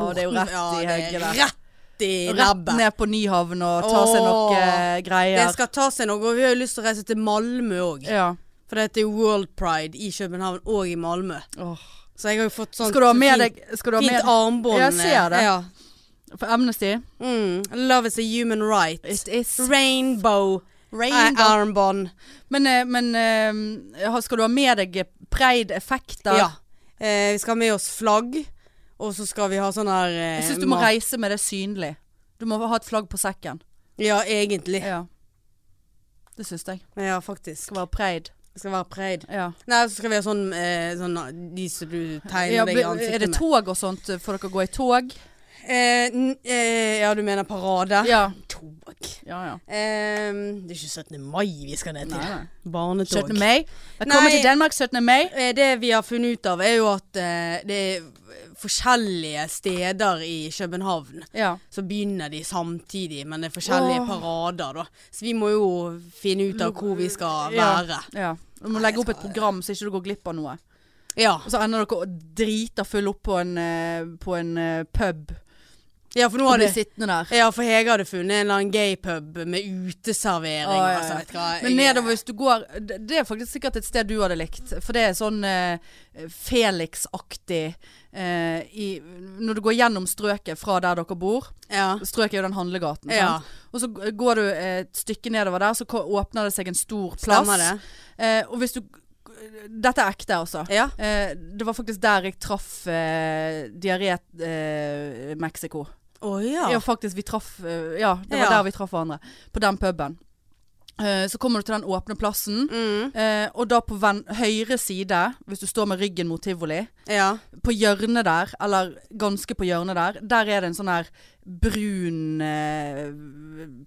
S2: borten-
S1: det er jo rett
S2: Ja,
S1: i
S2: det er
S1: høyre der.
S2: Rett i
S1: Rett
S2: nebbet.
S1: ned på Nyhavn og ta seg noe eh,
S2: Det
S1: greier.
S2: skal ta seg noe, og vi har jo lyst til å reise til Malmö òg.
S1: Ja.
S2: For det heter jo World Pride i København og i Malmö.
S1: Åh.
S2: Så jeg har jo fått sånt
S1: Skal du ha med
S2: fint,
S1: deg Skal du ha
S2: fint
S1: med
S2: armbånd. eh,
S1: Jeg ser det.
S2: Ja.
S1: For Amnesty?
S2: Mm. Love is a human right.
S1: It is
S2: Rainbow,
S1: rain.
S2: eh, armbånd.
S1: Men, eh, men eh, har- skal du ha med deg preid effekter?
S2: Ja. Eh, vi skal ha med oss flagg, og så skal vi ha sånn her eh,
S1: Jeg syns du må
S2: mat-
S1: reise med det synlig. Du må ha et flagg på sekken.
S2: Ja, egentlig.
S1: Ja. Det syns jeg.
S2: Ja, faktisk.
S1: Skal være preid.
S2: Det skal være preid.
S1: Ja.
S2: Nei, så skal vi ha sånn, eh, sånn De som du tegner
S1: Ja,
S2: deg i
S1: er det
S2: ansiktet med.
S1: tog og sånt? Får dere gå i tog?
S2: Eh, n- eh, ja, du mener parade?
S1: Ja.
S2: Tog.
S1: ja, ja.
S2: Eh, det er ikke 17. mai vi skal ned til.
S1: Nei, nei.
S2: Barnetog.
S1: 17. mai. Velkommen
S2: Nei.
S1: til Danmark 17. mai.
S2: Eh, Det vi har funnet ut av, er jo at eh, det er forskjellige steder i København.
S1: Ja.
S2: Så begynner de samtidig, men det er forskjellige
S1: Åh.
S2: parader, da. Så vi må jo finne ut av hvor vi skal være.
S1: Ja. Du må legge opp et program så ikke du går glipp av noe.
S2: Ja,
S1: Og så ender dere og driter full opp på en, eh, på en eh, pub.
S2: ja for nå
S1: Og
S2: har det
S1: blir sittende der.
S2: Ja, for Hege hadde funnet en eller annen gaypub med uteservering.
S1: Å, ja, ja.
S2: altså, vet du hva,
S1: Men
S2: jeg-
S1: nedover hvis du går Det det er faktisk sikkert et sted du hadde likt. For det er sånn eh, Felix-aktig eh, i- Når du går gjennom strøket fra der dere bor.
S2: Ja.
S1: Strøket er jo den handlegaten.
S2: Ja.
S1: Sant? Og så g- eh, går du et stykke nedover der, så ko- åpner det seg en stor plass.
S2: Stemmer det.
S1: Eh, og hvis du Dette er ekte, altså.
S2: Ja.
S1: Eh, det var faktisk der jeg traff eh, Diaré eh, Mexico.
S2: Å
S1: Ja.
S2: ja.
S1: faktisk. Vi traff eh, Ja, det var
S2: Ja.
S1: der vi traff hverandre. På den puben. Eh, så kommer du til den åpne plassen,
S2: Mm,
S1: eh, og da på ven høyre side, hvis du står med ryggen mot tivoli,
S2: ja.
S1: på hjørnet der, eller ganske på hjørnet der, der er det en sånn her brun eh,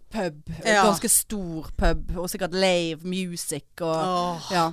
S1: pub.
S2: Ja.
S1: Ganske stor pub, og sikkert lave music og
S2: Åh.
S1: Ja,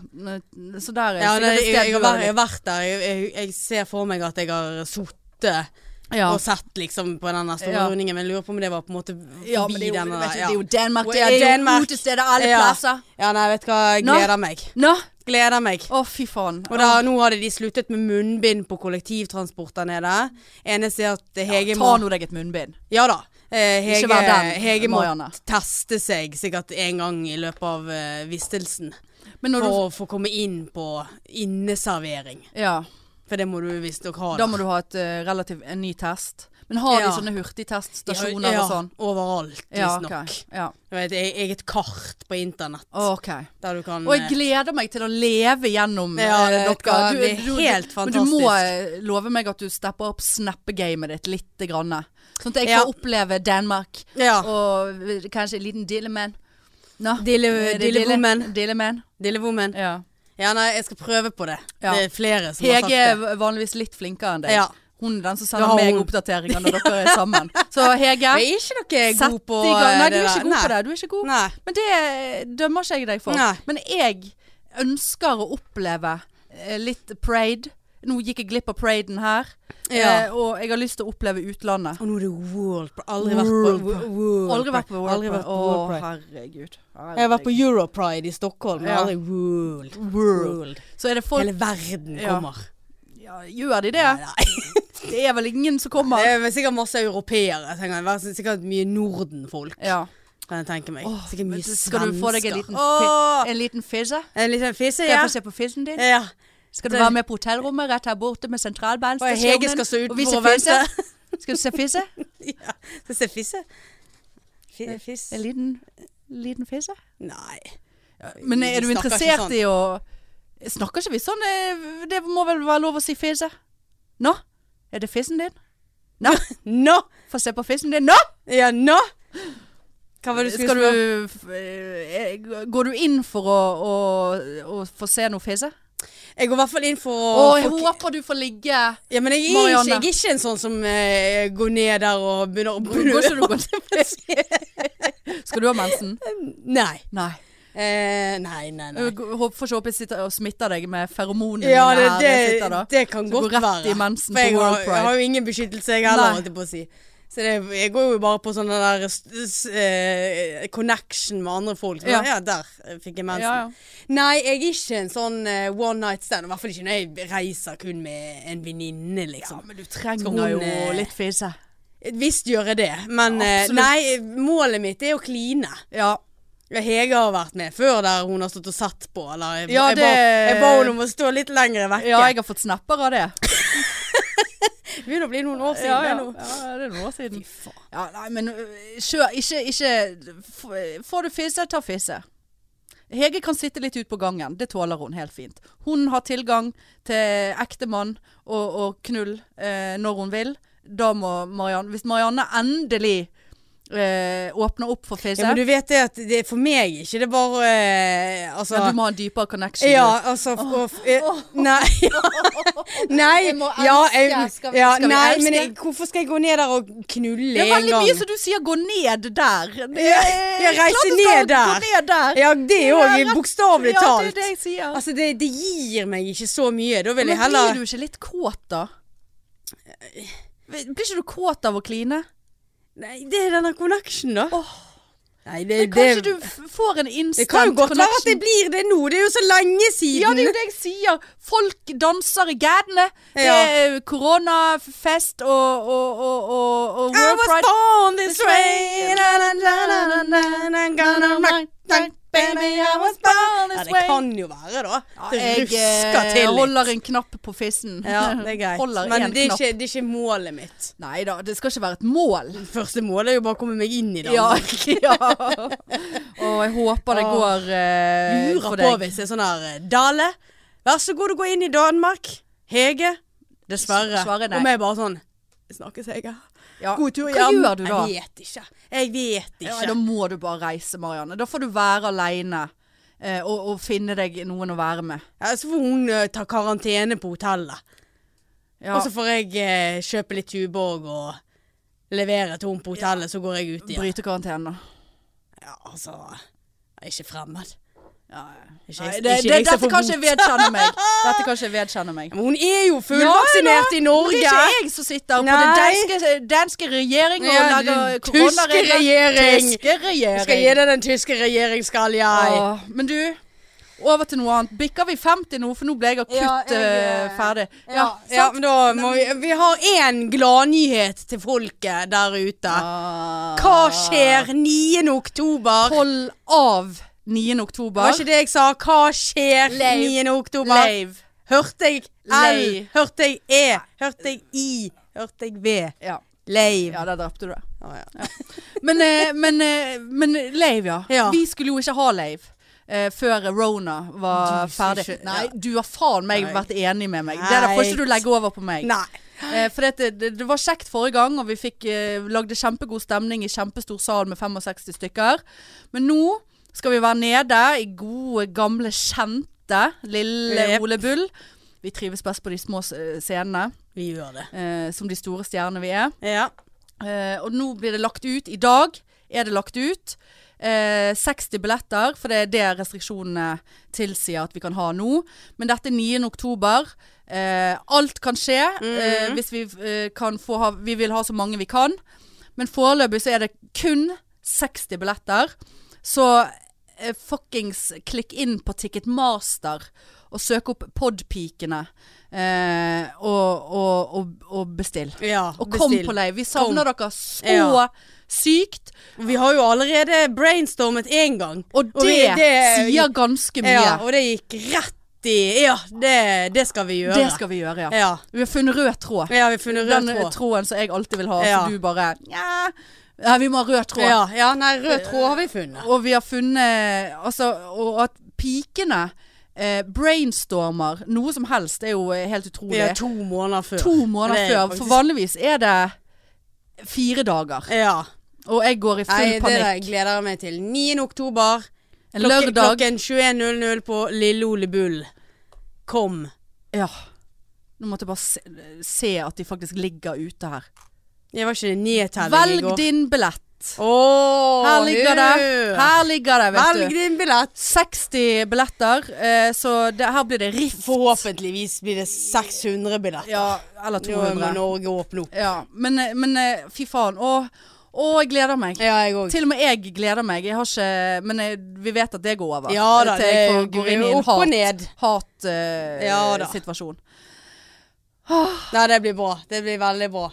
S1: så der er
S2: Ja,
S1: sikkert
S2: nei,
S1: et
S2: jeg,
S1: sted
S2: jeg, har
S1: du har
S2: vært, jeg har vært der. Jeg, jeg, jeg ser for meg at jeg har sittet
S1: litt- ja.
S2: og sett liksom på den store
S1: Ja.
S2: rundingen, men jeg lurer på om det var på en måte
S1: ja,
S2: forbi
S1: men det er jo,
S2: den
S1: vet
S2: der.
S1: ikke, det
S2: Ja.
S1: er jo Danmark, det
S2: Ja,
S1: er, det er
S2: Danmark.
S1: jo utesteder alle
S2: Ja.
S1: plasser.
S2: ja, nei, vet du hva. Jeg
S1: Nå?
S2: gleder meg.
S1: Nå?
S2: Gleder meg.
S1: Å, fy faen.
S2: Og da, nå hadde de sluttet med munnbind på kollektivtransport der nede. Eneste er at Hege
S1: Ta
S2: må
S1: nå deg et munnbind.
S2: Ja da. Eh, Hege,
S1: Ikke vær den,
S2: Hege må
S1: Marianne.
S2: teste seg sikkert en gang i løpet av eh, vistelsen
S1: Men når
S2: for
S1: du
S2: å få komme inn på inneservering.
S1: Ja.
S2: For det må du visstnok ha.
S1: Da må du ha et eh, relativt en ny test. Men har de
S2: Ja.
S1: sånne hurtigteststasjoner
S2: ja,
S1: og sånn?
S2: Overalt,
S1: Ja,
S2: visstnok.
S1: ok. Ja.
S2: Jeg vet, jeg- eget kart på internett
S1: Ok.
S2: der du kan eh,
S1: Og jeg gleder meg til å leve gjennom
S2: Mm. Ja,
S1: eh,
S2: det
S1: dere.
S2: skal bli helt
S1: Men du må
S2: fantastisk.
S1: eh, love meg at du stepper opp snappegamet ditt lite grann. Sånn at jeg
S2: Ja.
S1: får oppleve Danmark
S2: eh, ja.
S1: og eh, kanskje en liten dilleman. Nå.
S2: Dille,
S1: Er det
S2: Eh, dille woman.
S1: Dilleman.
S2: Dille woman.
S1: Ja.
S2: Ja, nei, jeg skal prøve på det.
S1: Ja.
S2: Det er flere som har
S1: Hege
S2: sagt
S1: er
S2: det.
S1: vanligvis litt flinkere enn deg.
S2: Ja.
S1: Hun er den som sender
S2: Da har
S1: meg
S2: hun-
S1: oppdateringer når dere er sammen. Så Hege,
S2: Jeg er ikke dere
S1: sett
S2: god på
S1: i gang. Nei,
S2: eh,
S1: du er ikke god
S2: der.
S1: på det. Du er ikke god.
S2: Nei.
S1: Men det dømmer ikke jeg deg for.
S2: Nei.
S1: Men jeg ønsker å oppleve eh, litt parade. Nå gikk jeg glipp av paraden her.
S2: Ja.
S1: Eh, og jeg har lyst til å oppleve utlandet.
S2: Og nå er det World Pride. Aldri vært på
S1: World Pride.
S2: World
S1: Aldri vært på World
S2: Aldri
S1: Pride.
S2: vært på
S1: Å,
S2: World Pride.
S1: herregud.
S2: Jeg har vært på
S1: Herregud.
S2: Europride i Stockholm, men
S1: Ja.
S2: aldri World. World.
S1: Så er det folk
S2: Hele verden
S1: Ja.
S2: kommer.
S1: ja, Gjør de det? Det er vel ingen som kommer?
S2: Det er vel sikkert masse europeere. tenker jeg. Det er Sikkert mye Nordenfolk,
S1: Ja.
S2: kan jeg tenke meg.
S1: Åh,
S2: Sikkert
S1: men
S2: mye
S1: du-
S2: svensker.
S1: skal du få deg en liten
S2: Åh,
S1: En liten fisse?
S2: En liten fisse,
S1: Skal jeg
S2: ja.
S1: få se på fissen din?
S2: ja.
S1: Skal du
S2: Det-
S1: være med på hotellrommet rett her borte med
S2: Og
S1: sentralbanestasjonen?
S2: Hege skal stå
S1: og
S2: utenfor
S1: vise
S2: og
S1: fisse?
S2: vente.
S1: Skal du se fisse?
S2: ja. Skal se fisse? Fi- Fiss?
S1: En liten, liten fisse?
S2: Nei.
S1: Men er du
S2: Vi snakker
S1: interessert
S2: ikke sånn.
S1: i å Snakker ikke vi sånn? eh, Det må vel være lov å si fisse? Nå? Er det fissen din? Nå?
S2: Nå!
S1: Få se på fissen din nå!
S2: Ja, nå! Hva var det du skulle
S1: Skal
S2: spørre?
S1: du eh, Går du inn for å, å, å få se noe fisse?
S2: Jeg går i hvert fall inn for
S1: Å,
S2: å
S1: jeg
S2: for-
S1: håper du får ligge
S2: Ja, men jeg er, ikke,
S1: Marianne.
S2: jeg er ikke en sånn som eh, går ned der og begynner å blø.
S1: Går ikke du Skal du ha mensen?
S2: Nei.
S1: Nei.
S2: Eh, nei, nei, nei.
S1: Jeg håper- Får ikke håpe jeg sitter og smitter deg med feromonene
S2: Ja, det,
S1: dine her jeg sitter
S2: det,
S1: da.
S2: det kan
S1: Så går
S2: godt
S1: rett
S2: være.
S1: i mensen på
S2: For jeg har,
S1: World Pride.
S2: jeg har jo ingen beskyttelse, jeg heller,
S1: Nei.
S2: holdt jeg på å si. Så det, jeg går jo bare på sånn den der s- s- eh, connection med andre folk. Ja,
S1: Ja.
S2: ja der eh, fikk jeg mensen.
S1: Ja, ja.
S2: Nei, jeg er ikke en sånn eh, one night stand. I hvert fall ikke når jeg reiser kun med en venninne, liksom.
S1: men du
S2: Skal
S1: trenger
S2: hun,
S1: jo
S2: eh,
S1: litt fise.
S2: Visst gjør jeg det, men eh,
S1: Absolutt.
S2: nei, målet mitt er å kline.
S1: Ja.
S2: Ja, Hege har vært med før der hun har stått og sett på. Eller jeg,
S1: Ja,
S2: jeg, ba,
S1: det-
S2: jeg ba henne om å stå litt lenger vekke.
S1: ja, jeg har fått snapper av det.
S2: Det begynner å bli noen år siden.
S1: Ja, ja.
S2: det nå.
S1: ja det er noen år siden.
S2: Fy faen.
S1: Ja, nei, men øh, kjør. Ikke, ikke f- Får du fisse, ta fisse. Hege kan sitte litt ut på gangen. Det tåler hun helt fint. Hun har tilgang til ektemann og, og knull eh, når hun vil. Da må Marianne Hvis Marianne endelig eh, åpner opp for fisse
S2: Ja, men du vet det at det er for meg ikke det er bare eh, Altså
S1: ja, Du må ha en dypere connection.
S2: ja, altså f- og, f- eh, Nei. nei.
S1: Jeg må elske.
S2: ja, jeg,
S1: Skal vi-
S2: ja,
S1: skal vi
S2: nei,
S1: elske?
S2: men jeg, hvorfor skal jeg gå ned der og knulle
S1: Det er
S2: en
S1: veldig
S2: gang?
S1: mye som du sier 'gå ned der'. Det
S2: Ja,
S1: er-
S2: ja, reise
S1: klart du skal
S2: ned der.
S1: Gå ned der.
S2: Ja, det er
S1: Ja,
S2: òg
S1: rett-
S2: bokstavelig
S1: Ja, det er
S2: talt.
S1: det jeg sier.
S2: Altså, det, det gir meg ikke så mye. Da vil
S1: Men
S2: jeg heller
S1: blir du ikke litt kåt da? Blir ikke du kåt av å kline?
S2: Nei, det er denne connection, da.
S1: Åh.
S2: Nei, det,
S1: Men
S2: Eh,
S1: kanskje
S2: det,
S1: du f- får en
S2: det
S1: instant
S2: kan jo godt være at det
S1: connection?
S2: blir det nå. Det er jo så lenge siden.
S1: Ja, det er jo det jeg sier. Folk danser i gatene. Det
S2: Ja.
S1: er eh, koronafest og, og, og, og, og
S2: I
S1: World
S2: was
S1: Pride.
S2: born this
S1: This
S2: way.
S1: way.
S2: Na, na, na, na, na, na, na, gonna rock, rock, baby, I was born this
S1: Ja,
S2: way.
S1: det kan
S2: jo være, da. Det
S1: Jeg
S2: rusker
S1: eh,
S2: til litt.
S1: holder en knapp på fissen.
S2: Ja, det er greit.
S1: Holder
S2: Men
S1: en
S2: det er,
S1: knapp.
S2: ikke, det er ikke målet mitt.
S1: Nei da, det skal ikke være et mål.
S2: Første målet er jo bare å komme meg inn i det.
S1: Ja. ja. Og jeg håper det
S2: Åh.
S1: går eh,
S2: Lurer
S1: for
S2: på
S1: deg.
S2: hvis det er sånn der eh, Dale, Vær så god å gå inn i Danmark. Hege. Dessverre.
S1: Sverre, nei.
S2: Og vi er bare sånn Snakkes, Hege.
S1: Ja.
S2: God tur
S1: Hva
S2: hjem.
S1: gjør du da?
S2: Jeg vet ikke. Jeg vet
S1: Ja,
S2: ikke.
S1: da må du bare reise, Marianne. Da får du være aleine. eh, Og, og finne deg noen å være med.
S2: Ja, så får hun eh, ta karantene på hotellet.
S1: Ja.
S2: Og så får jeg eh, kjøpe litt Tuborg og levere til henne på hotellet, så går jeg ut igjen.
S1: Bryte karantenen, da.
S2: Ja, altså Jeg er ikke fremmed.
S1: Ja, ja.
S2: Ikke,
S1: Nei,
S2: jeg-
S1: det, det,
S2: ikke jeg som
S1: dette
S2: får
S1: kan ikke
S2: bot.
S1: jeg vedkjenne meg. Dette kan ikke jeg vedkjenne meg.
S2: Men hun er jo fullvaksinert i
S1: Det er
S2: Norge!
S1: ikke jeg som sitter på den
S2: Nei.
S1: danske, danske regjeringen og
S2: Ja,
S1: lager
S2: den tyske
S1: koronaregler.
S2: regjering.
S1: Tyske regjering.
S2: Jeg skal gi deg den tyske regjeringsgalja.
S1: Åh, men du, over til noe annet. Bikker vi 50 nå, for nå ble jeg akutt
S2: Ja, jeg,
S1: eh,
S2: eh,
S1: ferdig.
S2: Ja, ja, men da må vi Vi har én gladnyhet til folket der ute.
S1: Ah.
S2: Hva skjer 9. oktober?
S1: Hold av 9. oktober.
S2: Var ikke det jeg sa? Hva skjer
S1: Leiv.
S2: 9. oktober?
S1: Leiv.
S2: Hørte jeg L?
S1: Lei.
S2: Hørte jeg E? Hørte jeg I? Hørte jeg V?
S1: Ja.
S2: Leiv.
S1: ja, der drepte du det.
S2: Å, ja.
S1: Men, eh, men, eh, men Leiv, ja.
S2: Ja.
S1: Vi skulle jo ikke ha Leiv. eh, før Rona var
S2: Du skulle
S1: ferdig.
S2: ikke-
S1: Nei, du har faen meg
S2: Nei.
S1: vært enig med meg. Det der får ikke du legge over på meg.
S2: Nei.
S1: Eh, for det, det, det var kjekt forrige gang, og vi fikk, eh, lagde kjempegod stemning i kjempestor sal med 65 stykker. Men nå skal vi være nede i gode, gamle, kjente lille
S2: Jep.
S1: Ole Bull. Vi trives best på de små eh, scenene,
S2: Vi gjør det.
S1: eh, som de store stjernene vi er.
S2: Ja.
S1: Eh, og nå blir det lagt ut. I dag er det lagt ut. Eh, 60 billetter, for det er det restriksjonene tilsier at vi kan ha nå. Men dette er 9. oktober. Eh, alt kan skje eh, hvis vi eh, kan få ha Vi vil ha så mange vi kan. Men foreløpig så er det kun 60 billetter. Så eh, fuckings klikk inn på Ticketmaster og søk opp Podpikene. Eh, og, og, og, og bestill.
S2: ja
S1: Og kom
S2: bestill.
S1: på leiv. Vi savner dere så
S2: Ja.
S1: sykt.
S2: Vi har jo allerede brainstormet én gang.
S1: Og det,
S2: vi- det-
S1: sier ganske mye.
S2: Ja, og det gikk rett i Ja, det, det skal vi gjøre.
S1: det skal vi gjøre, ja.
S2: Ja.
S1: Vi har funnet rød tråd.
S2: ja, vi har funnet
S1: Den
S2: rød tråd.
S1: tråden som jeg alltid vil ha,
S2: Ja.
S1: så du bare Nja, ja, vi må ha rød tråd.
S2: Ja, ja, nei, rød tråd har vi funnet.
S1: Og vi har funnet Altså, og at pikene eh, brainstormer noe som helst, er jo eh, helt utrolig.
S2: Ja, to måneder før.
S1: to måneder
S2: Det er
S1: før.
S2: faktisk-
S1: For vanligvis er det fire dager.
S2: Ja.
S1: Og jeg går i full
S2: Nei, det
S1: panikk.
S2: der gleder jeg meg til. 9. oktober.
S1: En
S2: klokke-
S1: lørdag.
S2: Klokken 21.00 på Lille Ole Bull. Kom.
S1: Ja. Nå måtte jeg bare se, se at de faktisk ligger ute her.
S2: Jeg var ikke det nedtelling i
S1: Velg
S2: går.
S1: din billett.
S2: Åh,
S1: Her ligger det.
S2: hør.
S1: Her ligger det, vet
S2: Velg
S1: du.
S2: din billett.
S1: 60 billetter, eh, så det, her blir det rift.
S2: Forhåpentligvis blir det 600 billetter.
S1: Ja, eller
S2: Nå må
S1: 200.
S2: Norge åpne opp.
S1: Ja, men, eh, men eh, fy faen. Å, å, jeg gleder meg.
S2: Ja, jeg òg.
S1: Til og med jeg gleder meg. Jeg har ikke Men eh, vi vet at det går over.
S2: Ja da,
S1: Til jeg
S2: det
S1: får- går inn i en
S2: opp og
S1: hat- eh,
S2: ned. Ja da.
S1: hat-situasjon.
S2: Nei, det blir bra. Det blir veldig bra.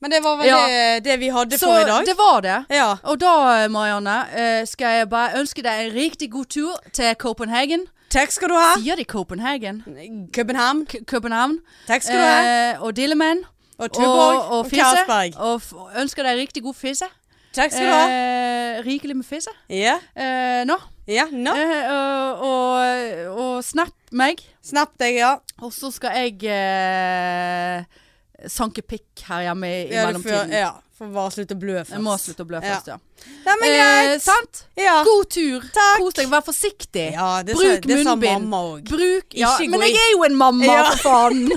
S2: Men det var vel
S1: Ja.
S2: det, det vi hadde
S1: så
S2: for i dag.
S1: det var det.
S2: ja.
S1: Og da, Marianne, eh, skal jeg bare ønske deg en riktig god tur til Copenhagen.
S2: Takk skal du ha.
S1: Sier de Copenhagen?
S2: København.
S1: K København.
S2: Takk skal du ha.
S1: Eh, og Dillemann.
S2: Og Tuborg. Og,
S1: og fisse.
S2: Karlsberg.
S1: Og f ønsker deg riktig god fisse.
S2: Takk skal du ha.
S1: Eh, rikelig med fisse.
S2: Ja.
S1: Eh, nå.
S2: Ja, nå.
S1: Eh, og, og, og snap meg.
S2: Snap deg, ja.
S1: Og så skal jeg eh, sanke pikk her hjemme i, i
S2: Ja, du får,
S1: mellomtiden.
S2: ja. Får bare slutte å blø først.
S1: Jeg må slutte å blø først, ja.
S2: Nei, men
S1: Eh,
S2: greit.
S1: sant?
S2: ja.
S1: God tur.
S2: Takk.
S1: Kos deg. Vær forsiktig.
S2: ja, det sa,
S1: Bruk
S2: det sa
S1: munnbind.
S2: mamma òg.
S1: Bruk ja,
S2: Ikke
S1: Men
S2: gå i-
S1: jeg er jo en mamma,
S2: Ja.
S1: for faen!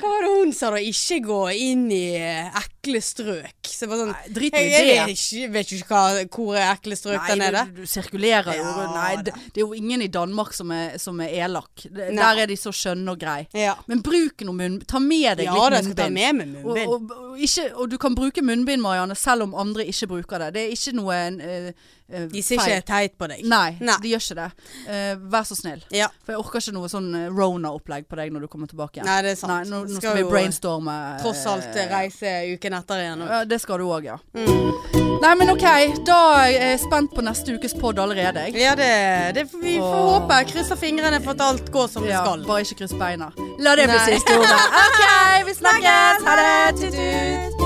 S2: Hva var det hun sa da? Ikke gå inn i eh, ekle strøk. Så bare sånn
S1: Nei, Drit nå i
S2: Jeg, jeg
S1: det.
S2: vet ikke, vet ikke hva, hvor er ekle strøk der
S1: Nei,
S2: nede.
S1: du, du sirkulerer jo.
S2: Ja,
S1: Nei, det,
S2: da.
S1: det er jo ingen i Danmark som er, som er elak. Det-
S2: Nei.
S1: Der er de så skjønne og grei.
S2: Ja,
S1: Men bruk noe munn... Ta med deg
S2: ja da,
S1: litt
S2: jeg skal ta
S1: munnbind.
S2: med meg
S1: Og,
S2: munnbind.
S1: og, og, ikke, og du kan bruke munnbind, Marianne, selv om andre ikke bruker det. Det er ikke noe eh, eh,
S2: De ser
S1: feil.
S2: ikke teit på deg.
S1: Nei,
S2: Nei.
S1: de gjør ikke det. Eh, vær så snill.
S2: Ja.
S1: For jeg orker ikke noe sånn eh, Rona-opplegg på deg når du kommer tilbake igjen.
S2: Nei, det er sant.
S1: nå, nå skal
S2: Skal
S1: vi
S2: jo
S1: brainstorme. eh,
S2: Tross alt eh, reise uken etter igjen. og-
S1: Ja, det skal du òg, ja.
S2: Mm.
S1: Nei, men OK. Da er jeg spent på neste ukes pod allerede. Jeg.
S2: Ja, det, det får vi får
S1: Åh.
S2: håpe. Krysser fingrene for at alt går som det
S1: Ja,
S2: skal.
S1: bare ikke kryss beina. La det bli
S2: Nei.
S1: siste ordet. OK, vi snakkes. Ha det. Tut-tut.
S2: Tut-tut.